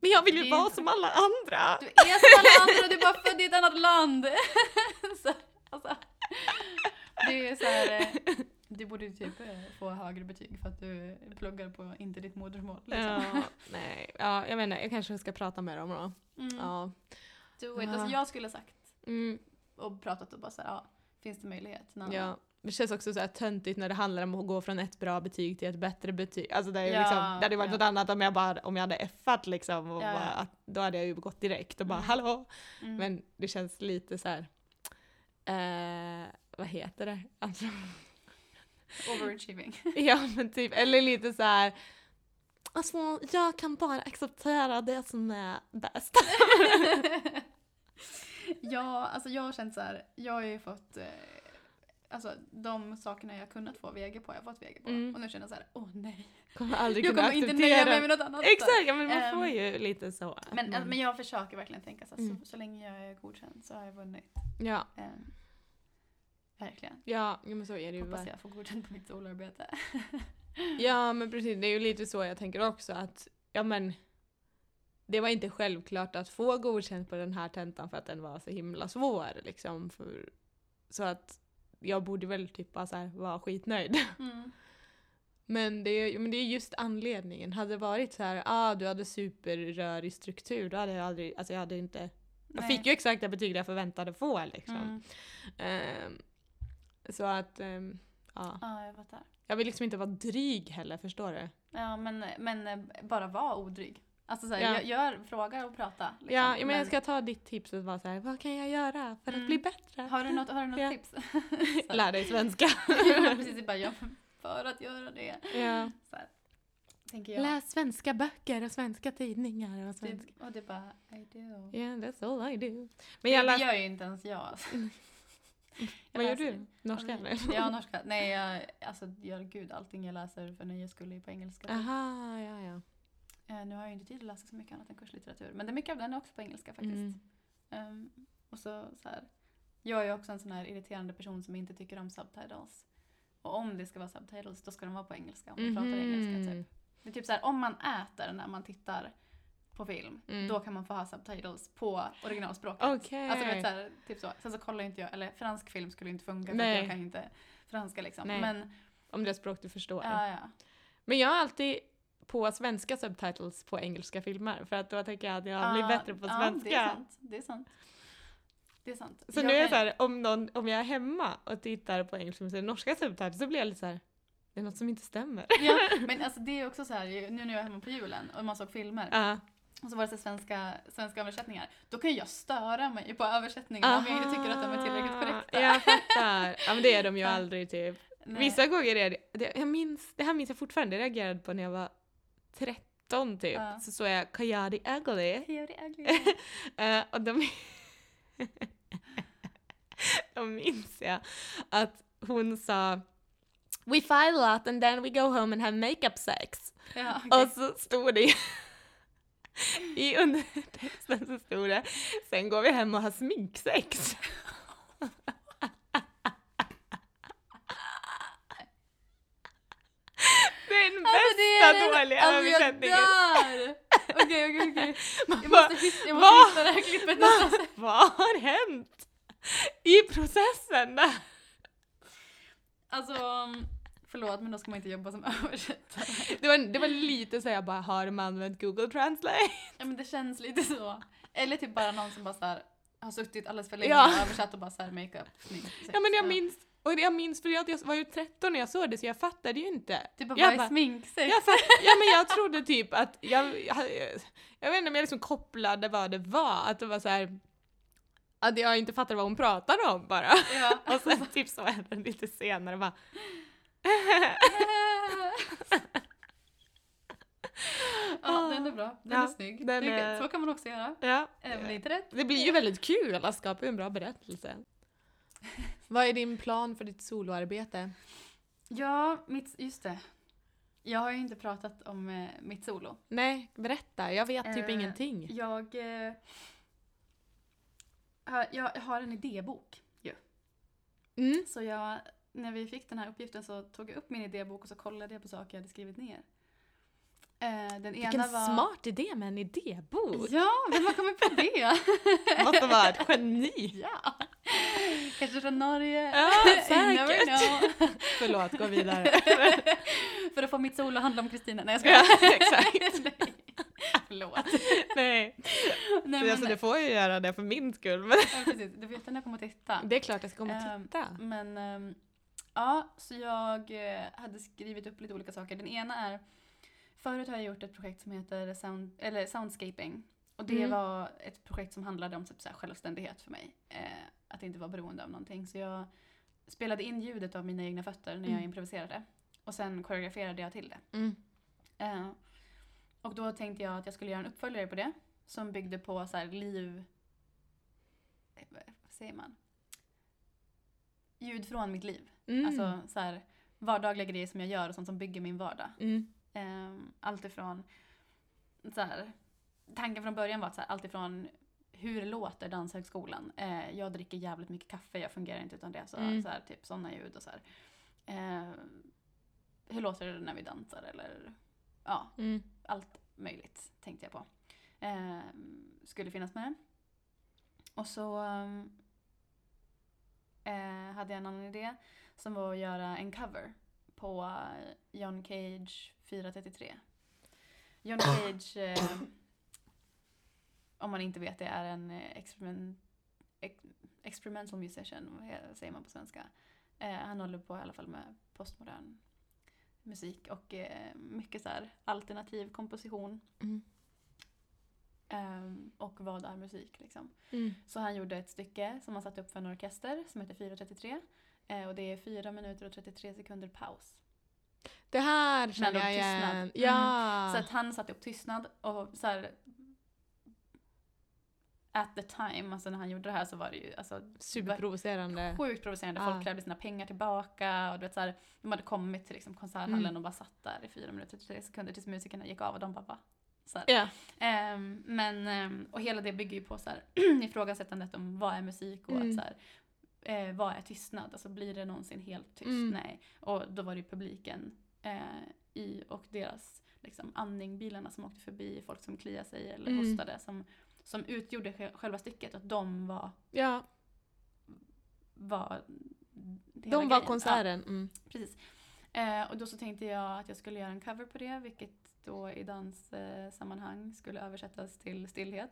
[SPEAKER 2] Men jag vill ju
[SPEAKER 1] Det är
[SPEAKER 2] vara
[SPEAKER 1] inte-
[SPEAKER 2] som alla andra!
[SPEAKER 1] Du är som alla andra, du är bara född i ett annat land. så, alltså, det är så här, eh, du borde ju typ eh, få högre betyg för att du pluggar på inte ditt modersmål. Liksom.
[SPEAKER 2] Ja, nej, ja, jag menar, jag kanske ska prata med dem då.
[SPEAKER 1] Mm.
[SPEAKER 2] Ja.
[SPEAKER 1] Do it.
[SPEAKER 2] Ja.
[SPEAKER 1] Alltså, jag skulle ha sagt
[SPEAKER 2] Mm,
[SPEAKER 1] och pratat och bara så här, ja, finns det möjlighet? Någon annan?
[SPEAKER 2] ja. Det känns också så här töntigt när det handlar om att gå från ett bra betyg till ett bättre betyg. Alltså det, är ju
[SPEAKER 1] Ja,
[SPEAKER 2] liksom, det hade ju varit
[SPEAKER 1] ja.
[SPEAKER 2] något annat om jag, bara, om jag hade effat liksom. Och
[SPEAKER 1] Ja, ja.
[SPEAKER 2] bara, att, då hade jag ju gått direkt och bara
[SPEAKER 1] Mm.
[SPEAKER 2] hallå!
[SPEAKER 1] Mm.
[SPEAKER 2] Men det känns lite så här. Eh, vad heter det? Alltså,
[SPEAKER 1] Overachieving.
[SPEAKER 2] ja men typ, eller lite så här. Alltså jag kan bara acceptera det som är bäst.
[SPEAKER 1] ja, alltså jag har känt så här, jag har ju fått eh, Alltså de sakerna jag kunnat få VG på, jag har fått VG på.
[SPEAKER 2] Mm.
[SPEAKER 1] Och nu känner jag så här, åh nej.
[SPEAKER 2] Kommer aldrig
[SPEAKER 1] Jag
[SPEAKER 2] kunna
[SPEAKER 1] kommer
[SPEAKER 2] acceptera.
[SPEAKER 1] inte nöja mig med något annat.
[SPEAKER 2] Exakt, ja, men man
[SPEAKER 1] Ehm,
[SPEAKER 2] får ju lite så. att
[SPEAKER 1] Men, alltså,
[SPEAKER 2] man,
[SPEAKER 1] men jag försöker verkligen tänka så, här,
[SPEAKER 2] Mm.
[SPEAKER 1] så, så länge jag är godkänd så har jag vunnit.
[SPEAKER 2] ja,
[SPEAKER 1] Ehm, verkligen.
[SPEAKER 2] ja, ja, men så är det ju.
[SPEAKER 1] Hoppas
[SPEAKER 2] verkligen.
[SPEAKER 1] jag får godkänt på mitt solarbete.
[SPEAKER 2] Ja men precis, det är ju lite så jag tänker också att, ja men det var inte självklart att få godkänt på den här tentan för att den var så himla svår liksom. För, så att jag borde väl typ bara så här, vara skitnöjd.
[SPEAKER 1] Mm.
[SPEAKER 2] Men det, är, men det är just anledningen. Hade det varit så här, ah du hade superrörig struktur, då hade jag aldrig, alltså jag hade inte, jag
[SPEAKER 1] Nej.
[SPEAKER 2] fick ju exakt det betyg jag förväntade få liksom.
[SPEAKER 1] Mm.
[SPEAKER 2] Ehm, så att, ehm, ja.
[SPEAKER 1] Ja, jag fattar.
[SPEAKER 2] Jag vill liksom inte vara dryg heller, förstår du?
[SPEAKER 1] Ja, men, men eh, bara var odryg. Alltså så här, gör,
[SPEAKER 2] Ja.
[SPEAKER 1] gör, fråga och prata. liksom.
[SPEAKER 2] Ja, men jag ska ta ditt tips och vara så här, vad kan jag göra för att
[SPEAKER 1] Mm.
[SPEAKER 2] bli bättre?
[SPEAKER 1] Har du något, har du något
[SPEAKER 2] Ja.
[SPEAKER 1] tips? Så-
[SPEAKER 2] Lär dig svenska.
[SPEAKER 1] Ja, Precis, det är bara ja, för att göra det.
[SPEAKER 2] ja.
[SPEAKER 1] Så här, tänker jag.
[SPEAKER 2] Läs svenska böcker och svenska tidningar och svenska...
[SPEAKER 1] Typ, och det är bara, I do.
[SPEAKER 2] Ja, yeah, that's all I do.
[SPEAKER 1] Det,
[SPEAKER 2] Men jag
[SPEAKER 1] det
[SPEAKER 2] läste...
[SPEAKER 1] gör ju inte ens jag. alltså.
[SPEAKER 2] Vad gör
[SPEAKER 1] läser
[SPEAKER 2] du? Norska eller?
[SPEAKER 1] Ja, norska. Nej, jag, alltså jag, gud, allting jag läser för nöjes skull är på engelska. typ.
[SPEAKER 2] Aha, ja, ja.
[SPEAKER 1] Eh, nu har jag ju inte tid att läsa så mycket annat än kurslitteratur. Men det är mycket av den är också på engelska faktiskt.
[SPEAKER 2] Mm.
[SPEAKER 1] Ehm, och så, så här. Jag är ju också en sån här irriterande person som inte tycker om subtitles. Och om det ska vara subtitles, då ska de vara på engelska. Om man pratar engelska
[SPEAKER 2] Mhm.
[SPEAKER 1] typ. Det är typ så här, om man äter när man tittar på film,
[SPEAKER 2] Mm.
[SPEAKER 1] då kan man få ha subtitles på originalspråket.
[SPEAKER 2] Okej.
[SPEAKER 1] Alltså du vet såhär, typ så. Sen så kollar inte jag, eller fransk film skulle inte funka för
[SPEAKER 2] Nej.
[SPEAKER 1] att jag kan ju inte franska liksom.
[SPEAKER 2] Nej.
[SPEAKER 1] Men,
[SPEAKER 2] Om det är språk du förstår.
[SPEAKER 1] ja ja.
[SPEAKER 2] Men jag har alltid på svenska subtitles på engelska filmer för att då tänker jag att jag blir
[SPEAKER 1] Ah, Ja,
[SPEAKER 2] bättre på svenska.
[SPEAKER 1] Ja, det är sant. Det är sant. Det är sant.
[SPEAKER 2] Så
[SPEAKER 1] Jag
[SPEAKER 2] nu är
[SPEAKER 1] kan-
[SPEAKER 2] jag så här, om, någon, om jag är hemma och tittar på engelska musik, norska subtitles, så blir jag lite så här, det är något som inte stämmer.
[SPEAKER 1] Ja, men alltså det är också så här, ju- nu när jag är hemma på julen och man såg filmer
[SPEAKER 2] Ja,
[SPEAKER 1] och så var det så här svenska, svenska översättningar, då kan ju jag störa mig på översättningarna om jag inte tycker att de är tillräckligt
[SPEAKER 2] Aha,
[SPEAKER 1] korrekta.
[SPEAKER 2] Jag fattar. Ja men det är de ju
[SPEAKER 1] Ja.
[SPEAKER 2] aldrig typ.
[SPEAKER 1] Nej.
[SPEAKER 2] Vissa gånger är det, det, jag minns, det här minns jag fortfarande, jag reagerade på när jag var 13 typ.
[SPEAKER 1] Ja.
[SPEAKER 2] Så såg jag Kayadi Agoli.
[SPEAKER 1] Theory ugly.
[SPEAKER 2] Eh, och de... då minns jag att hon sa We file out and then we go home and have makeup sex.
[SPEAKER 1] Ja, okej.
[SPEAKER 2] Och så stod det i- i undertexten så stod det Sen går vi hem och har sminksex. Det är den
[SPEAKER 1] Alltså, det
[SPEAKER 2] bästa
[SPEAKER 1] är den-
[SPEAKER 2] dåliga
[SPEAKER 1] alltså, jag
[SPEAKER 2] översättningen.
[SPEAKER 1] dör! Okej, okej, okej.
[SPEAKER 2] Man
[SPEAKER 1] Jag
[SPEAKER 2] bara,
[SPEAKER 1] måste hitta, jag
[SPEAKER 2] vad?
[SPEAKER 1] måste hitta det här klippet
[SPEAKER 2] "Va?
[SPEAKER 1] nästan.
[SPEAKER 2] vad har hänt i processen? Där?
[SPEAKER 1] Alltså, förlåt men då ska man inte jobba som översättare.
[SPEAKER 2] Det, var, det var lite så jag bara, har de använt Google Translate?
[SPEAKER 1] Ja men det känns lite så. Eller typ bara någon som bara såhär har suttit alldeles för länge
[SPEAKER 2] Ja.
[SPEAKER 1] och översatt och bara såhär makeup, smink, sex.
[SPEAKER 2] Ja men jag minns, och jag minns för jag, jag var ju 13 när jag såg det så jag fattade ju inte.
[SPEAKER 1] Typ bara,
[SPEAKER 2] jag
[SPEAKER 1] vad är
[SPEAKER 2] bara-
[SPEAKER 1] smink, sex?
[SPEAKER 2] Jag fatt, ja men jag trodde typ att, jag, jag, jag vet inte om jag liksom kopplade vad det var, att det var så här att jag inte fattade vad hon pratade om bara.
[SPEAKER 1] Ja.
[SPEAKER 2] Och sen typ så hände det lite senare bara,
[SPEAKER 1] Ah. ja, den är bra. Den
[SPEAKER 2] Ja,
[SPEAKER 1] är snygg.
[SPEAKER 2] den
[SPEAKER 1] det är
[SPEAKER 2] är-
[SPEAKER 1] kul. Så kan man också göra.
[SPEAKER 2] ja.
[SPEAKER 1] Även lite rätt.
[SPEAKER 2] Det blir ju väldigt kul att skapa en bra berättelse. Vad är din plan för ditt soloarbete?
[SPEAKER 1] Ja, mitt, just det. Jag har ju inte pratat om eh, mitt solo.
[SPEAKER 2] Nej, berätta. Jag vet typ
[SPEAKER 1] Eh,
[SPEAKER 2] ingenting.
[SPEAKER 1] Jag, eh, har- jag har en idébok ju.
[SPEAKER 2] Mm.
[SPEAKER 1] Så jag, när vi fick den här uppgiften så tog jag upp min idébok och så kollade jag på saker jag hade skrivit ner. Eh, den ena
[SPEAKER 2] Vilken
[SPEAKER 1] var...
[SPEAKER 2] smart idé med en idébok!
[SPEAKER 1] Ja, vem har kommit på det?
[SPEAKER 2] Måste vara ett geni!
[SPEAKER 1] ja. Kanske från Norge.
[SPEAKER 2] Ja,
[SPEAKER 1] You never
[SPEAKER 2] säkert.
[SPEAKER 1] know.
[SPEAKER 2] Förlåt, gå vidare.
[SPEAKER 1] För att få mitt solo att handla om Kristina. Nej, jag
[SPEAKER 2] Ja,
[SPEAKER 1] skojar.
[SPEAKER 2] exakt.
[SPEAKER 1] Nej. Förlåt.
[SPEAKER 2] Nej,
[SPEAKER 1] Nej,
[SPEAKER 2] alltså,
[SPEAKER 1] men,
[SPEAKER 2] du får ju göra det för min skull. Men...
[SPEAKER 1] ja, precis. Du vet när jag kommer att titta.
[SPEAKER 2] Det är klart jag ska komma och
[SPEAKER 1] Ehm,
[SPEAKER 2] titta.
[SPEAKER 1] Men ehm, ja, så jag eh, hade skrivit upp lite olika saker. Den ena är, förut har jag gjort ett projekt som heter sound, eller Soundscaping. Och det
[SPEAKER 2] Mm.
[SPEAKER 1] var ett projekt som handlade om typ så här självständighet för mig. Eh, att inte vara beroende av någonting. Så jag spelade in ljudet av mina egna fötter när jag
[SPEAKER 2] Mm.
[SPEAKER 1] improviserade. Och sen koreograferade jag till det. Eh, och då tänkte jag att jag skulle göra en uppföljare på det. Som byggde på så här liv... eh, Vad vad säger man? Ljud från mitt liv.
[SPEAKER 2] Mm.
[SPEAKER 1] Alltså så här, vardagliga grejer som jag gör och sånt som bygger min vardag.
[SPEAKER 2] Mm.
[SPEAKER 1] Eh, allt ifrån... Så här, tanken från början var att så här, allt ifrån hur låter Danshögskolan? Eh, jag dricker jävligt mycket kaffe, jag fungerar inte utan det. Så,
[SPEAKER 2] Mm.
[SPEAKER 1] så här, typ sådana ljud och så här. Eh, hur låter det när vi dansar? Eller, ja,
[SPEAKER 2] Mm.
[SPEAKER 1] allt möjligt tänkte jag på. Eh, skulle finnas med. Och så ehm, eh, hade jag en annan idé som var att göra en cover på eh, John Cage 433. John Cage, eh, om man inte vet det, är en eh, experiment, ex, experimental musician, vad he- säger man på svenska. Eh, han håller på i alla fall med postmodern musik och eh, mycket så här alternativ komposition.
[SPEAKER 2] Mm.
[SPEAKER 1] ehm, och vad är musik liksom.
[SPEAKER 2] Mm.
[SPEAKER 1] Så han gjorde ett stycke som han satte upp för en orkester som heter 4.33. Eh, och det är 4 minuter och 33 sekunder paus.
[SPEAKER 2] Det här känner
[SPEAKER 1] Mellan
[SPEAKER 2] jag
[SPEAKER 1] tystnad.
[SPEAKER 2] igen.
[SPEAKER 1] Mm.
[SPEAKER 2] Ja.
[SPEAKER 1] Så att han satte upp tystnad och så här at the time, alltså när han gjorde det här så var det ju alltså,
[SPEAKER 2] Superprovocerande.
[SPEAKER 1] sjukt provocerande.
[SPEAKER 2] Ah.
[SPEAKER 1] Folk krävde sina pengar tillbaka och du vet så här, de hade kommit till liksom, konserthallen
[SPEAKER 2] Mm.
[SPEAKER 1] och bara satt där i 4 minuter och 33 sekunder tills musikerna gick av och de bara va? Så här.
[SPEAKER 2] Ja.
[SPEAKER 1] Ehm, men, ehm, och hela det bygger ju på så här, ifrågasättandet om vad är musik och
[SPEAKER 2] Mm.
[SPEAKER 1] att så här, eh, vad är tystnad? Alltså blir det någonsin helt tyst?
[SPEAKER 2] Mm.
[SPEAKER 1] Nej. Och då var det ju publiken eh, i och deras liksom, andning, bilarna som åkte förbi, folk som kliade sig eller
[SPEAKER 2] Mm.
[SPEAKER 1] hostade som, som utgjorde sj- själva stycket. Att de var,
[SPEAKER 2] ja.
[SPEAKER 1] var hela
[SPEAKER 2] De var
[SPEAKER 1] grejen.
[SPEAKER 2] konserten. Mm.
[SPEAKER 1] Ja, precis. Eh, och då så tänkte jag att jag skulle göra en cover på det, vilket då i danssammanhang eh, sammanhang skulle översättas till stillhet.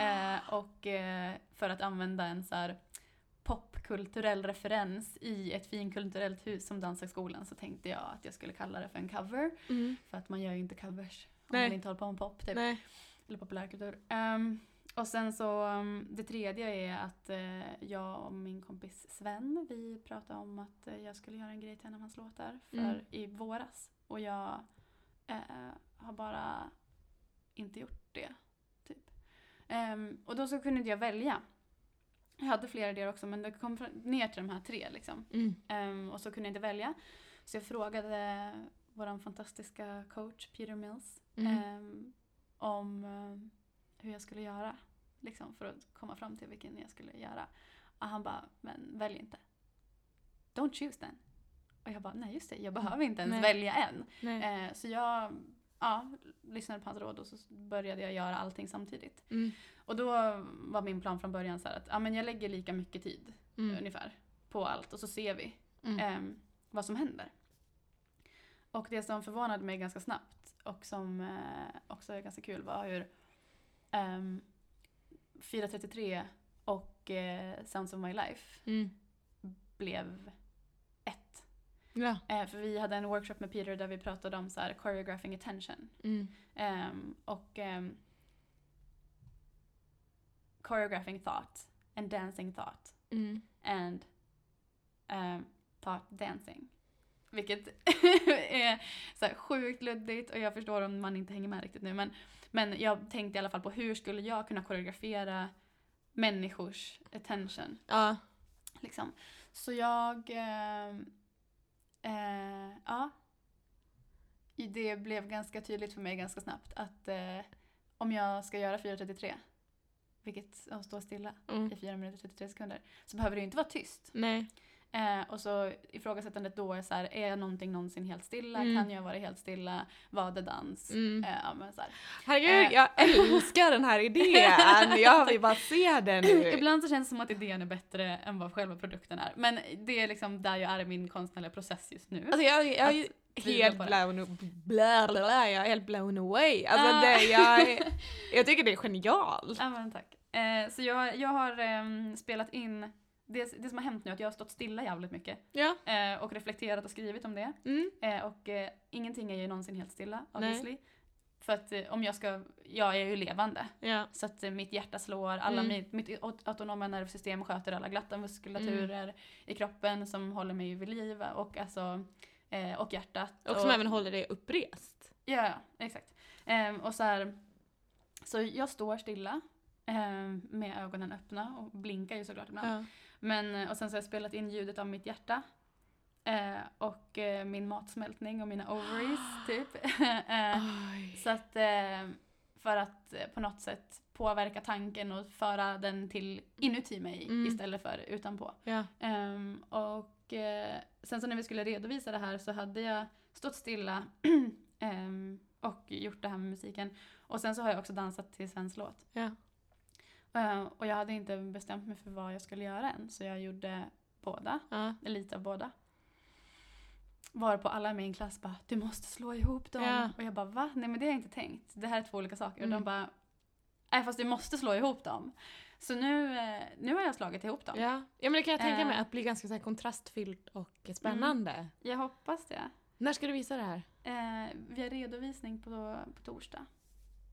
[SPEAKER 1] Eh, och eh, för att använda en så här popkulturell referens i ett finkulturellt hus som Danshögskolan så tänkte jag att jag skulle kalla det för en cover.
[SPEAKER 2] Mm.
[SPEAKER 1] För att man gör ju inte covers om
[SPEAKER 2] Nej.
[SPEAKER 1] man inte håller på med pop typ,
[SPEAKER 2] Nej.
[SPEAKER 1] eller populärkultur. Ehm, och sen så, ehm, det tredje är att eh, jag och min kompis Sven, vi pratade om att eh, jag skulle göra en grej till en av hans låtar för
[SPEAKER 2] Mm.
[SPEAKER 1] i våras. Och jag eh, har bara inte gjort det. Typ. Ehm, och då så kunde inte jag välja. Jag hade flera idéer också men det kom fr- ner till de här tre liksom.
[SPEAKER 2] Mm.
[SPEAKER 1] Ehm, och så kunde jag inte välja. Så jag frågade vår fantastiska coach Peter Mills
[SPEAKER 2] Mm.
[SPEAKER 1] ehm, om eh, hur jag skulle göra. Liksom, för att komma fram till vilken jag skulle göra. Och han bara, men välj inte. Don't choose then. Och jag bara, nej just det, jag behöver inte ens
[SPEAKER 2] Mm. Nej. Mm.
[SPEAKER 1] välja än.
[SPEAKER 2] Nej.
[SPEAKER 1] Eh, så jag ja, lyssnade på hans råd och så började jag göra allting samtidigt.
[SPEAKER 2] Mm.
[SPEAKER 1] Och då var min plan från början så här att ja, men jag lägger lika mycket tid
[SPEAKER 2] Mm.
[SPEAKER 1] ungefär på allt och så ser vi
[SPEAKER 2] Mm.
[SPEAKER 1] ehm, vad som händer. Och det som förvånade mig ganska snabbt och som eh, också är ganska kul var hur ehm, 433 och eh, Sounds of My Life
[SPEAKER 2] Mm.
[SPEAKER 1] blev ett.
[SPEAKER 2] Ja.
[SPEAKER 1] Eh, för vi hade en workshop med Peter där vi pratade om så här, choreographing attention.
[SPEAKER 2] Mm.
[SPEAKER 1] Ehm, och ehm, choreographing thought and dancing thought
[SPEAKER 2] Mm.
[SPEAKER 1] and um, thought dancing. Vilket är så här sjukt luddigt och jag förstår om man inte hänger med riktigt nu men, men jag tänkte i alla fall på hur skulle jag kunna koreografera människors attention
[SPEAKER 2] Ja.
[SPEAKER 1] liksom. Så jag... Eh, eh, ja. I Det blev ganska tydligt för mig ganska snabbt att eh, om jag ska göra 4.33, vilket att stå stilla
[SPEAKER 2] Mm.
[SPEAKER 1] i 4 minuter och 33 sekunder, så behöver det ju inte vara tyst.
[SPEAKER 2] Nej.
[SPEAKER 1] Eh, och så ifrågasättandet då är så här, är någonting någonsin helt stilla?
[SPEAKER 2] Mm.
[SPEAKER 1] Kan jag vara helt stilla? Vad är dans?
[SPEAKER 2] Mm.
[SPEAKER 1] Eh, ja, men så här.
[SPEAKER 2] Herregud,
[SPEAKER 1] Eh.
[SPEAKER 2] jag älskar den här idén! Jag vill bara se den nu.
[SPEAKER 1] Ibland så känns det som att idén är bättre än vad själva produkten är. Men det är liksom där jag är i min konstnärliga process just nu.
[SPEAKER 2] Alltså jag, jag är ju
[SPEAKER 1] tvivla
[SPEAKER 2] helt
[SPEAKER 1] på det.
[SPEAKER 2] blown, bla, bla, bla, jag är helt blown away. Alltså
[SPEAKER 1] Ah.
[SPEAKER 2] det, jag, är- jag tycker det är genialt.
[SPEAKER 1] Ja, men tack. Eh, så jag, jag har ehm, spelat in, det, det som har hänt nu är att jag har stått stilla jävligt mycket
[SPEAKER 2] Ja.
[SPEAKER 1] eh, och reflekterat och skrivit om det.
[SPEAKER 2] Mm.
[SPEAKER 1] Eh, och eh, ingenting är ju någonsin helt stilla,
[SPEAKER 2] Nej.
[SPEAKER 1] obviously. För att eh, om jag ska, jag är ju levande.
[SPEAKER 2] Ja.
[SPEAKER 1] Så att eh, mitt hjärta slår, alla
[SPEAKER 2] Mm.
[SPEAKER 1] mitt, mitt aut- autonoma nervsystem sköter alla glatta muskulaturer
[SPEAKER 2] Mm.
[SPEAKER 1] i kroppen som håller mig vid liv och, alltså, eh, och hjärtat.
[SPEAKER 2] Och som även håller dig upprest.
[SPEAKER 1] Ja, ja, exakt. Ehm, och så här, så jag står stilla ehm, med ögonen öppna och blinkar ju såklart ibland.
[SPEAKER 2] Ja.
[SPEAKER 1] Men, eh, och sen så har jag spelat in ljudet av mitt hjärta. Eh, och eh, min matsmältning och mina ovaries typ. Eh,
[SPEAKER 2] Oj.
[SPEAKER 1] så att, eh, för att eh, på något sätt påverka tanken och föra den till inuti mig
[SPEAKER 2] Mm.
[SPEAKER 1] istället för utanpå.
[SPEAKER 2] Ja.
[SPEAKER 1] Ehm, och eh, sen så när vi skulle redovisa det här så hade jag stått stilla ehm, och gjort det här med musiken. Och sen så har jag också dansat till svensk låt.
[SPEAKER 2] Ja.
[SPEAKER 1] Ehm, och jag hade inte bestämt mig för vad jag skulle göra än så jag gjorde båda,
[SPEAKER 2] Ja.
[SPEAKER 1] lite av båda. Varpå alla i min klass bara “du måste slå ihop dem”
[SPEAKER 2] Ja.
[SPEAKER 1] och jag bara “va? Nej men det har jag inte tänkt, det här är två olika saker” och
[SPEAKER 2] Mm.
[SPEAKER 1] de bara “nej fast du måste slå ihop dem”. Så nu, eh, nu har jag slagit ihop dem.
[SPEAKER 2] Ja. ja men det kan jag tänka
[SPEAKER 1] Eh.
[SPEAKER 2] mig, att bli ganska så här kontrastfyllt och spännande.
[SPEAKER 1] Jag hoppas det.
[SPEAKER 2] När ska du visa det här?
[SPEAKER 1] Eh, vi har redovisning på, på torsdag.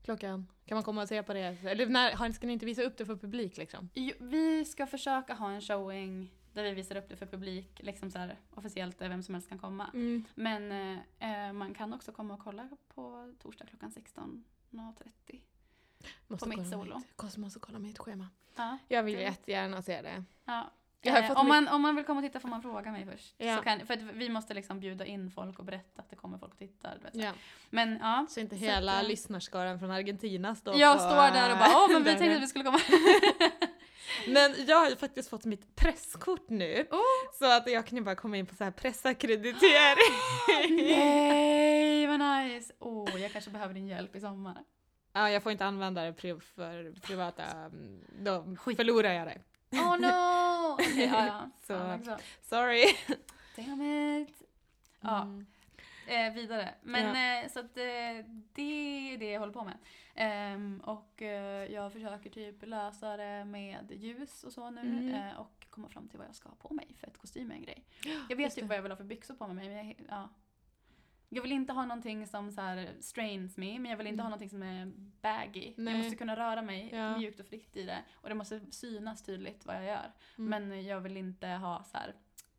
[SPEAKER 2] Klockan? Kan man komma och se på det? Eller när, har- ska ni inte visa upp det för publik liksom?
[SPEAKER 1] Jo, Vi ska försöka ha en showing där vi visar upp det för publik, liksom så här, officiellt, där vem som helst kan komma.
[SPEAKER 2] Mm.
[SPEAKER 1] Men eh, eh, man kan också komma och kolla på torsdag klockan 16.30.
[SPEAKER 2] Måste
[SPEAKER 1] På mitt
[SPEAKER 2] kolla
[SPEAKER 1] solo.
[SPEAKER 2] Mitt, måste kolla mitt schema.
[SPEAKER 1] Ja,
[SPEAKER 2] Jag vill
[SPEAKER 1] Det-
[SPEAKER 2] jättegärna se det.
[SPEAKER 1] ja.
[SPEAKER 2] Jag har
[SPEAKER 1] Eh,
[SPEAKER 2] fått
[SPEAKER 1] om,
[SPEAKER 2] mycket-
[SPEAKER 1] man, om man vill komma och titta får man fråga mig först.
[SPEAKER 2] Ja.
[SPEAKER 1] Så kan, för att vi måste liksom bjuda in folk och berätta att det kommer folk och tittar. du Vet.
[SPEAKER 2] Ja.
[SPEAKER 1] Men ja,
[SPEAKER 2] Så inte
[SPEAKER 1] Så
[SPEAKER 2] hela
[SPEAKER 1] att, eh,
[SPEAKER 2] lyssnarskaran från Argentina står
[SPEAKER 1] jag
[SPEAKER 2] på,
[SPEAKER 1] står där och bara åh men vi
[SPEAKER 2] dörren."
[SPEAKER 1] tänkte att vi skulle komma.
[SPEAKER 2] Men jag har ju faktiskt fått mitt presskort nu.
[SPEAKER 1] Oh.
[SPEAKER 2] Så att jag kan ju bara komma in på så här pressackreditering.
[SPEAKER 1] Nej vad nice! Åh, jag kanske behöver din hjälp i sommar.
[SPEAKER 2] ja, jag får inte använda det pri- för privata, mm, då
[SPEAKER 1] Skit.
[SPEAKER 2] förlorar jag det.
[SPEAKER 1] Oh no! Okej, ja, ja.
[SPEAKER 2] Så.
[SPEAKER 1] Ja, men bra.
[SPEAKER 2] Sorry.
[SPEAKER 1] Damn it! Ja,
[SPEAKER 2] Mm.
[SPEAKER 1] eh, vidare. Men eh, så att eh, det är det jag håller på med. Ehm, och eh, jag försöker typ lösa det med ljus och så nu.
[SPEAKER 2] Mm.
[SPEAKER 1] Eh, och komma fram till vad jag ska ha på mig för att kostym är en grej. Jag
[SPEAKER 2] just
[SPEAKER 1] vet typ
[SPEAKER 2] det.
[SPEAKER 1] vad jag vill ha för byxor på mig men jag, ja. Jag vill inte ha någonting som så här strains me, men jag vill inte
[SPEAKER 2] Mm.
[SPEAKER 1] ha någonting som är baggy.
[SPEAKER 2] Nej.
[SPEAKER 1] Jag måste kunna röra mig
[SPEAKER 2] Ja.
[SPEAKER 1] mjukt och fritt i det. Och det måste synas tydligt vad jag gör.
[SPEAKER 2] Mm.
[SPEAKER 1] Men jag vill inte ha så här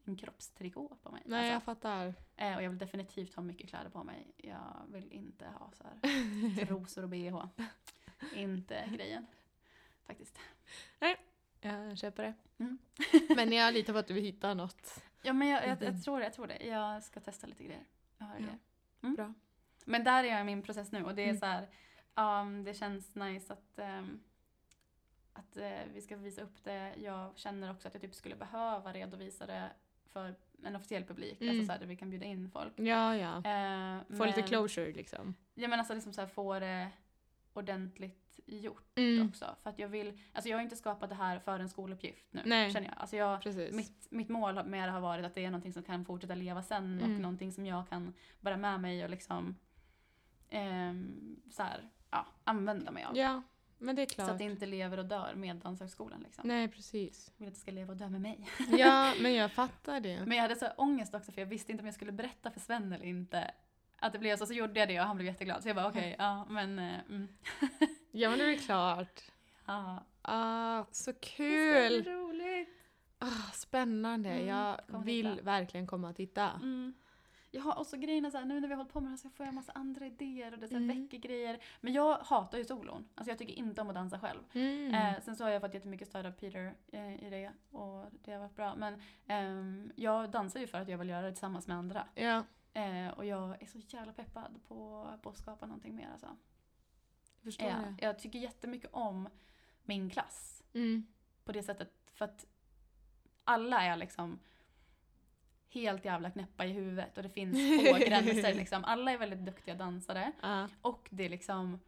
[SPEAKER 1] en kroppstrikå på mig.
[SPEAKER 2] Nej, jag
[SPEAKER 1] Alltså,
[SPEAKER 2] fattar.
[SPEAKER 1] eh, och jag vill definitivt ha mycket kläder på mig. Jag vill inte ha så här rosor och bh. inte grejen. Faktiskt.
[SPEAKER 2] Nej. Jag köper det.
[SPEAKER 1] Mm.
[SPEAKER 2] Men jag litar på att du hittar något.
[SPEAKER 1] Ja men jag, jag,
[SPEAKER 2] Mm.
[SPEAKER 1] jag tror det, jag tror det. Jag ska testa lite grejer. Jag har
[SPEAKER 2] Ja,
[SPEAKER 1] grejer. Mm.
[SPEAKER 2] bra.
[SPEAKER 1] Men där är jag i min process nu och det är
[SPEAKER 2] Mm.
[SPEAKER 1] så här, ehm, det känns nice att, ehm, att eh, vi ska visa upp det. Jag känner också att jag typ skulle behöva redovisa det för en officiell publik,
[SPEAKER 2] Mm.
[SPEAKER 1] alltså så här, där vi kan bjuda in folk.
[SPEAKER 2] Ja, ja.
[SPEAKER 1] Eh,
[SPEAKER 2] Få lite
[SPEAKER 1] men-
[SPEAKER 2] closure liksom.
[SPEAKER 1] Ja men alltså liksom så här, få det ordentligt gjort
[SPEAKER 2] Mm.
[SPEAKER 1] också. För att jag vill, alltså jag har inte skapat det här för en skoluppgift nu,
[SPEAKER 2] Nej.
[SPEAKER 1] känner jag. Alltså jag
[SPEAKER 2] Precis.
[SPEAKER 1] mitt, mitt mål med det har varit att det är någonting som kan fortsätta leva sen och
[SPEAKER 2] Mm.
[SPEAKER 1] någonting som jag kan bära med mig och liksom ehm, så här, ja, använda mig av.
[SPEAKER 2] Ja, men det är klart.
[SPEAKER 1] så att det inte lever och dör med Danshögskolan. Liksom.
[SPEAKER 2] Nej, precis.
[SPEAKER 1] Jag vill att det ska leva och dö med mig.
[SPEAKER 2] Ja, men jag fattar det.
[SPEAKER 1] Men jag hade så här ångest också för jag visste inte om jag skulle berätta för Sven eller inte. Att det blev så, så gjorde jag det och han blev jätteglad. Så jag bara okej, ja men... eh, Mm,
[SPEAKER 2] Ja, men det är väl klart.
[SPEAKER 1] ja.
[SPEAKER 2] Ah, så
[SPEAKER 1] Det
[SPEAKER 2] kul!
[SPEAKER 1] ska bli roligt!
[SPEAKER 2] Ah, spännande.
[SPEAKER 1] Mm, kom
[SPEAKER 2] jag
[SPEAKER 1] och
[SPEAKER 2] vill
[SPEAKER 1] titta.
[SPEAKER 2] verkligen komma och titta.
[SPEAKER 1] Mm. Ja, och så grejen är så här, nu när vi har hållit på med det här så får jag en massa andra idéer och det är så här
[SPEAKER 2] Mm.
[SPEAKER 1] väcker grejer. Men jag hatar ju solon. Alltså jag tycker inte om att dansa själv.
[SPEAKER 2] Mm.
[SPEAKER 1] Eh, sen så har jag fått jättemycket stöd av Peter eh, i det och det har varit bra. Men ehm, jag dansar ju för att jag vill göra det tillsammans med andra.
[SPEAKER 2] Ja,
[SPEAKER 1] Eh, och jag är så jävla peppad på, på att skapa någonting mer alltså.
[SPEAKER 2] jag förstår
[SPEAKER 1] Ja,
[SPEAKER 2] det.
[SPEAKER 1] jag tycker jättemycket om min klass
[SPEAKER 2] Mm.
[SPEAKER 1] på det sättet. För att alla är liksom helt jävla knäppa i huvudet och det finns få gränser. Liksom. Alla är väldigt duktiga dansare.
[SPEAKER 2] Ah,
[SPEAKER 1] Och det är liksom,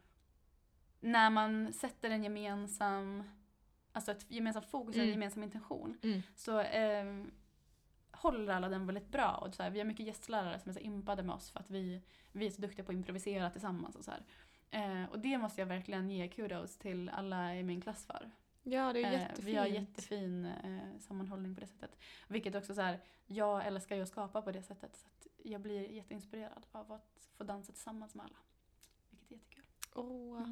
[SPEAKER 1] när man sätter en gemensam, alltså ett gemensamt fokus och en
[SPEAKER 2] Mm.
[SPEAKER 1] gemensam intention
[SPEAKER 2] Mm.
[SPEAKER 1] så eh, håller alla den väldigt bra. Och så här, vi har mycket gästlärare som är så impade med oss för att vi, vi är så duktiga på att improvisera tillsammans. Och, så här. Eh, och det måste jag verkligen ge kudos till alla i min klass för.
[SPEAKER 2] ja, det är
[SPEAKER 1] Eh,
[SPEAKER 2] jättefint.
[SPEAKER 1] Vi har jättefin eh, sammanhållning på det sättet. Vilket också så här, jag älskar ju att skapa på det sättet. Så att jag blir jätteinspirerad av att få dansa tillsammans med alla. Vilket är jättekul.
[SPEAKER 2] Åh.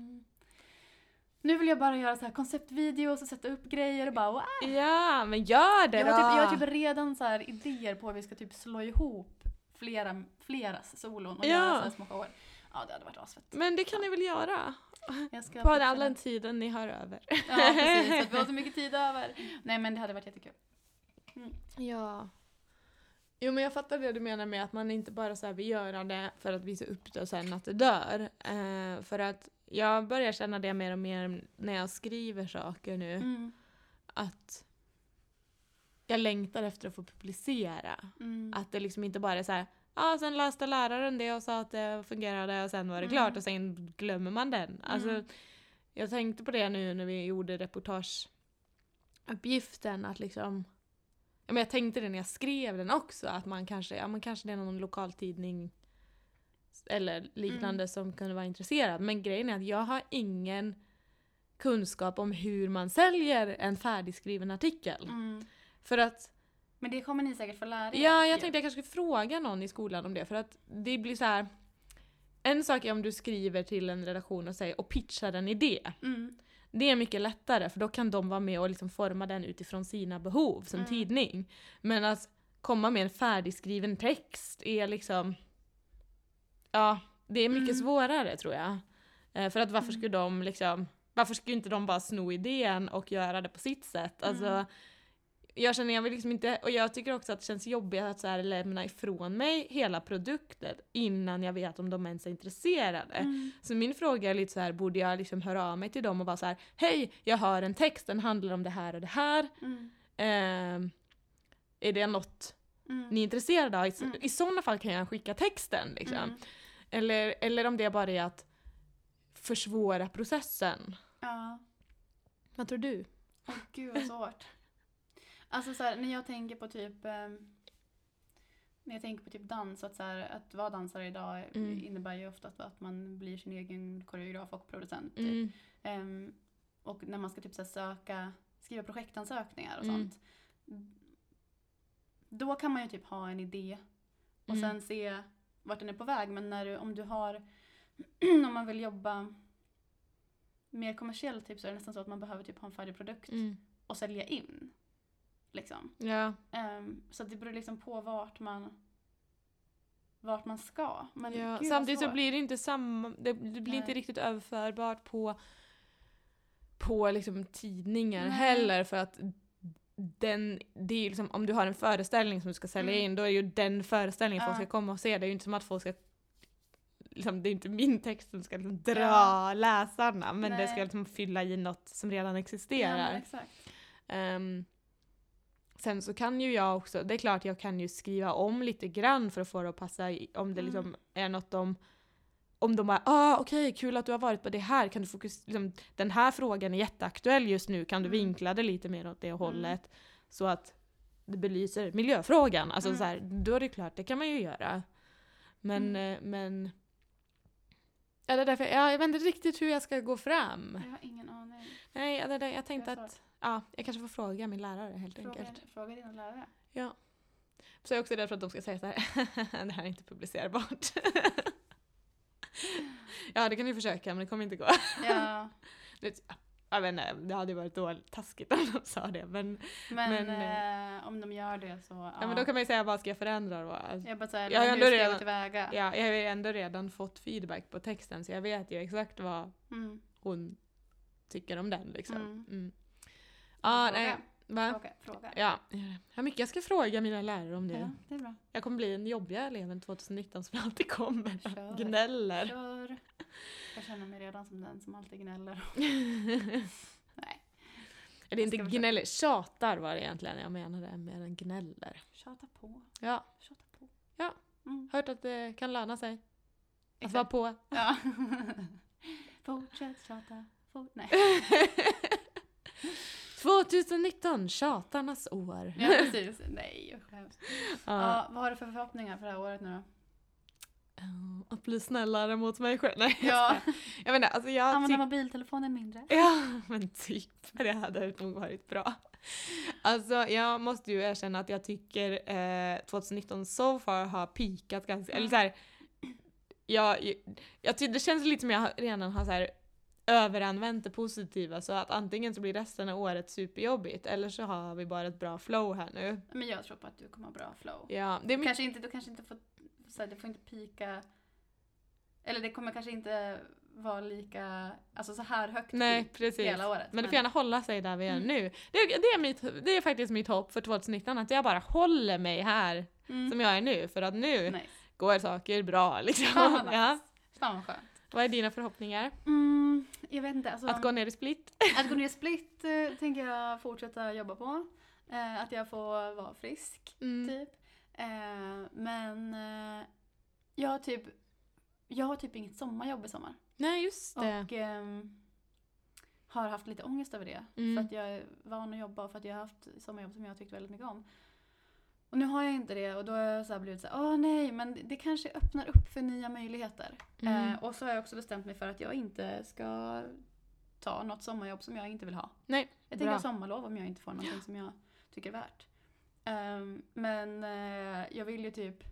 [SPEAKER 1] Nu vill jag bara göra så här konceptvideos och sätta upp grejer och bara wow.
[SPEAKER 2] Ja, men gör det
[SPEAKER 1] Jag
[SPEAKER 2] då!
[SPEAKER 1] har, typ, jag har typ redan så här idéer på hur vi ska typ slå ihop flera, fleras solon och
[SPEAKER 2] Ja.
[SPEAKER 1] göra så här små shower. Ja, det hade varit asfett.
[SPEAKER 2] Men det kan ni väl göra?
[SPEAKER 1] Jag typ- ska
[SPEAKER 2] Bara
[SPEAKER 1] fixa
[SPEAKER 2] all
[SPEAKER 1] det.
[SPEAKER 2] den tiden ni har över.
[SPEAKER 1] Ja, precis. så Att vi har så mycket tid över. Nej, men det hade varit jättekul.
[SPEAKER 2] Ja. Jo men jag fattar det du menar med att man inte bara så här vill göra det för att visa upp det och sen att det dör. Eh, för att jag börjar känna det mer och mer när jag skriver saker nu.
[SPEAKER 1] Mm.
[SPEAKER 2] Att jag längtar efter att få publicera.
[SPEAKER 1] Mm.
[SPEAKER 2] Att det liksom inte bara är så här, ja sen läste läraren det och sa att det fungerade och sen var det
[SPEAKER 1] Mm.
[SPEAKER 2] klart och sen glömmer man den. Alltså,
[SPEAKER 1] Mm.
[SPEAKER 2] Jag tänkte på det nu när vi gjorde reportageuppgiften att liksom ja, men jag tänkte det när jag skrev den också att man kanske, ja, man kanske det är någon lokaltidning eller
[SPEAKER 1] Mm.
[SPEAKER 2] liknande som kunde vara intresserad. Men grejen är att jag har ingen kunskap om hur man säljer en färdigskriven artikel.
[SPEAKER 1] Mm.
[SPEAKER 2] För att
[SPEAKER 1] Men det kommer ni säkert få lära er.
[SPEAKER 2] Ja,
[SPEAKER 1] ju.
[SPEAKER 2] jag typ- tänkte jag kanske skulle fråga någon i skolan om det för att det blir så här. En sak är om du skriver till en redaktion och säger och pitchar en idé.
[SPEAKER 1] Mm.
[SPEAKER 2] Det är mycket lättare för då kan de vara med och liksom forma den utifrån sina behov som
[SPEAKER 1] Mm.
[SPEAKER 2] tidning. Men att komma med en färdigskriven text är liksom... Ja, det är mycket
[SPEAKER 1] Mm.
[SPEAKER 2] svårare tror jag. Eh, För att varför
[SPEAKER 1] Mm.
[SPEAKER 2] skulle de liksom... Varför skulle inte de bara sno idén och göra det på sitt sätt? Alltså,
[SPEAKER 1] Mm.
[SPEAKER 2] Jag känner jag vill liksom inte, och jag tycker också att det känns jobbigt att så här lämna ifrån mig hela produkten innan jag vet om de ens är intresserade.
[SPEAKER 1] Mm.
[SPEAKER 2] Så min fråga är lite så här, borde jag liksom höra av mig till dem och bara så här, hej, jag har en text, den handlar om det här och det här.
[SPEAKER 1] Mm.
[SPEAKER 2] Ehm, är det något
[SPEAKER 1] Mm.
[SPEAKER 2] ni är intresserade av? I,
[SPEAKER 1] Mm.
[SPEAKER 2] I sådana fall kan jag skicka texten liksom.
[SPEAKER 1] Mm.
[SPEAKER 2] Eller, eller om det bara är att försvåra processen.
[SPEAKER 1] Ja.
[SPEAKER 2] Vad tror du?
[SPEAKER 1] Åh gud vad svårt. Alltså så här, när jag tänker på typ ehm, när jag tänker på typ dans, att, så här, att vara dansare idag
[SPEAKER 2] Mm.
[SPEAKER 1] innebär ju ofta att, att man blir sin egen koreograf och producent. Typ.
[SPEAKER 2] Mm.
[SPEAKER 1] Ehm, och när man ska typ så här, söka, skriva projektansökningar och
[SPEAKER 2] Mm.
[SPEAKER 1] sånt. Då kan man ju typ ha en idé och
[SPEAKER 2] Mm.
[SPEAKER 1] sen se vart den är på väg. Men när du, om du har, om man vill jobba mer kommersiellt typ så är det nästan så att man behöver typ ha en färdig produkt
[SPEAKER 2] Mm.
[SPEAKER 1] och sälja in. Liksom.
[SPEAKER 2] Ja.
[SPEAKER 1] Ehm, så att det beror liksom på vart man vart man ska. Men
[SPEAKER 2] ja.
[SPEAKER 1] gud, alltså. vad
[SPEAKER 2] Samtidigt så
[SPEAKER 1] svårt.
[SPEAKER 2] blir det inte samma, det, det blir
[SPEAKER 1] Nej.
[SPEAKER 2] inte riktigt överförbart på på på liksom, tidningar
[SPEAKER 1] Nej.
[SPEAKER 2] heller för att den, det är ju liksom, om du har en föreställning som du ska sälja
[SPEAKER 1] Mm.
[SPEAKER 2] in då är ju den föreställningen folk
[SPEAKER 1] Ja.
[SPEAKER 2] ska komma och se. Det är ju inte som att folk ska liksom, det är inte min text som ska liksom dra
[SPEAKER 1] Ja.
[SPEAKER 2] läsarna men det ska
[SPEAKER 1] Nej.
[SPEAKER 2] liksom fylla i något som redan
[SPEAKER 1] Ja, men
[SPEAKER 2] existerar.
[SPEAKER 1] exakt.
[SPEAKER 2] Ehm, sen så kan ju jag också, det är klart jag kan ju skriva om lite grann för att få det att passa i, om det
[SPEAKER 1] Mm.
[SPEAKER 2] liksom är något om om de bara ah okej kul att du har varit på det här, kan du fokusera, liksom, den här frågan är jätteaktuell just nu, kan du
[SPEAKER 1] Mm.
[SPEAKER 2] vinkla det lite mer åt det hållet? Så att det belyser miljöfrågan. Alltså
[SPEAKER 1] Mm.
[SPEAKER 2] så här, då är det klart, det kan man ju göra. Men, eh, men... Ja, det är därför, ja, jag vet inte riktigt hur jag ska gå fram.
[SPEAKER 1] Jag har ingen aning.
[SPEAKER 2] Nej, ja, det där, jag tänkte
[SPEAKER 1] Jag sa-
[SPEAKER 2] att ja, jag kanske får fråga min lärare helt
[SPEAKER 1] Fråga,
[SPEAKER 2] enkelt.
[SPEAKER 1] fråga dina lärare.
[SPEAKER 2] Ja. Så jag är också rädd för att de ska säga så här. det här är inte publicerbart. ja, det kan du försöka men det kommer inte gå.
[SPEAKER 1] Ja,
[SPEAKER 2] Det, jag vet inte, det hade ju varit dåligt taskigt om de sa det. Men,
[SPEAKER 1] men,
[SPEAKER 2] Men,
[SPEAKER 1] eh, om de gör det så...
[SPEAKER 2] ja. men då kan man ju säga vad ska jag förändra då? Alltså,
[SPEAKER 1] Jag bara såhär,
[SPEAKER 2] Ja, jag
[SPEAKER 1] hur ska jag
[SPEAKER 2] lurar-
[SPEAKER 1] gå tillväga?
[SPEAKER 2] ja, jag har ju ändå redan fått feedback på texten så jag vet ju exakt vad
[SPEAKER 1] Mm.
[SPEAKER 2] hon tycker om den liksom.
[SPEAKER 1] Mm.
[SPEAKER 2] Mm. Ja,
[SPEAKER 1] fråga,
[SPEAKER 2] nej. Va?
[SPEAKER 1] fråga, fråga.
[SPEAKER 2] Ja, hur mycket jag ska fråga mina lärare om det.
[SPEAKER 1] Ja, det är bra.
[SPEAKER 2] Jag kommer bli en jobbiga eleven 2019 som alltid kommer
[SPEAKER 1] Kör.
[SPEAKER 2] och gnäller.
[SPEAKER 1] Kör. Jag känner mig redan som den som alltid gnäller. Nej,
[SPEAKER 2] Eller inte
[SPEAKER 1] Ska vi ta-
[SPEAKER 2] gnäller, tjatar var det egentligen jag menade mer än gnäller.
[SPEAKER 1] tjata på.
[SPEAKER 2] Ja,
[SPEAKER 1] Tjata på.
[SPEAKER 2] Ja. Alltså,
[SPEAKER 1] Mm.
[SPEAKER 2] hört att det kan löna sig att vara
[SPEAKER 1] Exakt.
[SPEAKER 2] på.
[SPEAKER 1] Ja. Fortsätt tjata. For... Nej.
[SPEAKER 2] 2019, tjatarnas år.
[SPEAKER 1] Ja, precis. Nej, usch vad hemskt.
[SPEAKER 2] Ja.
[SPEAKER 1] Ja, vad har du för förhoppningar för det här året nu då?
[SPEAKER 2] Eh, Att bli snällare mot mig själv. Nej, jag
[SPEAKER 1] Ja,
[SPEAKER 2] skojar. jag menar, alltså jag
[SPEAKER 1] använda
[SPEAKER 2] tycker...
[SPEAKER 1] mobiltelefonen mindre.
[SPEAKER 2] Ja, men typ. Det hade nog varit bra. Alltså jag måste ju erkänna att jag tycker eh, 2019 so far har pikat ganska, eller
[SPEAKER 1] Mm.
[SPEAKER 2] så här, jag, jag tycker det känns lite som jag har- redan har så här överanvänt det positiva så att antingen så blir resten av året superjobbigt eller så har vi bara ett bra flow här nu.
[SPEAKER 1] Men jag tror på att du kommer ha bra flow.
[SPEAKER 2] Ja, det
[SPEAKER 1] Du
[SPEAKER 2] är mycket,
[SPEAKER 1] kanske inte, du kanske inte får, så här, det får inte pika, eller det kommer kanske inte vara lika, alltså så här högt
[SPEAKER 2] nej
[SPEAKER 1] peak
[SPEAKER 2] precis.
[SPEAKER 1] hela året.
[SPEAKER 2] Men det får gärna hålla sig där vi är nu. Det, det, är mitt, det är faktiskt mitt hopp för 2019 att jag bara håller mig här
[SPEAKER 1] mm,
[SPEAKER 2] som jag är nu för att nu
[SPEAKER 1] nice.
[SPEAKER 2] går saker bra liksom.
[SPEAKER 1] Fan vad nice.
[SPEAKER 2] ja.
[SPEAKER 1] Fan vad skönt.
[SPEAKER 2] Vad är dina förhoppningar?
[SPEAKER 1] Mm, jag vet inte, alltså,
[SPEAKER 2] Att gå ner i split?
[SPEAKER 1] att gå ner i split eh, tänker jag fortsätta jobba på. Eh, att jag får vara frisk,
[SPEAKER 2] Mm.
[SPEAKER 1] typ. Eh, men eh, jag har typ, jag har typ inget sommarjobb i sommar.
[SPEAKER 2] Nej just det.
[SPEAKER 1] Och ehm, har haft lite ångest över det.
[SPEAKER 2] Mm.
[SPEAKER 1] För att jag är van att jobba och för att jag har haft sommarjobb som jag har tyckt väldigt mycket om. Och nu har jag inte det och då har jag så här blivit så här, åh nej, men det kanske öppnar upp för nya möjligheter.
[SPEAKER 2] Mm.
[SPEAKER 1] Eh, och så har jag också bestämt mig för att jag inte ska ta något sommarjobb som jag inte vill ha.
[SPEAKER 2] Nej,
[SPEAKER 1] Jag tänker
[SPEAKER 2] bra.
[SPEAKER 1] ha sommarlov om jag inte får någonting som jag tycker är värt. Ehm, men eh, jag vill ju typ,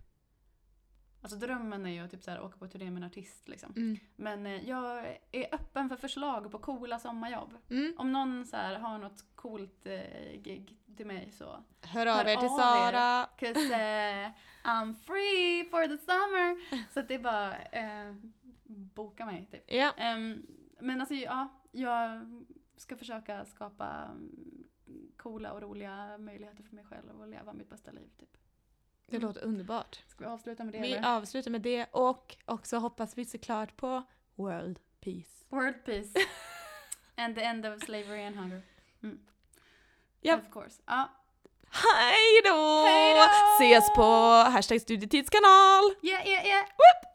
[SPEAKER 1] alltså drömmen är ju att typ så här, åka på turné med en artist liksom.
[SPEAKER 2] Mm.
[SPEAKER 1] Men eh, jag är öppen för förslag på coola sommarjobb.
[SPEAKER 2] Mm.
[SPEAKER 1] Om någon så här har något coolt eh, gig till mig så.
[SPEAKER 2] Hör av er
[SPEAKER 1] av
[SPEAKER 2] till
[SPEAKER 1] er.
[SPEAKER 2] Sara.
[SPEAKER 1] Cause eh, I'm free for the summer. Så att det är bara eh, boka mig typ.
[SPEAKER 2] Ja.
[SPEAKER 1] Ehm, men alltså ja, jag ska försöka skapa mm, coola och roliga möjligheter för mig själv och leva mitt bästa liv typ.
[SPEAKER 2] Det låter underbart.
[SPEAKER 1] Ska vi avsluta med det
[SPEAKER 2] Vi
[SPEAKER 1] eller?
[SPEAKER 2] avslutar med det och också hoppas vi såklart på World Peace.
[SPEAKER 1] World peace. and the end of slavery and hunger. Mm.
[SPEAKER 2] Japp.
[SPEAKER 1] Of course. Ja.
[SPEAKER 2] Hej då!
[SPEAKER 1] Hej då!
[SPEAKER 2] Ses på hashtag studiotidskanal!
[SPEAKER 1] Yeah, yeah, yeah.
[SPEAKER 2] Woop!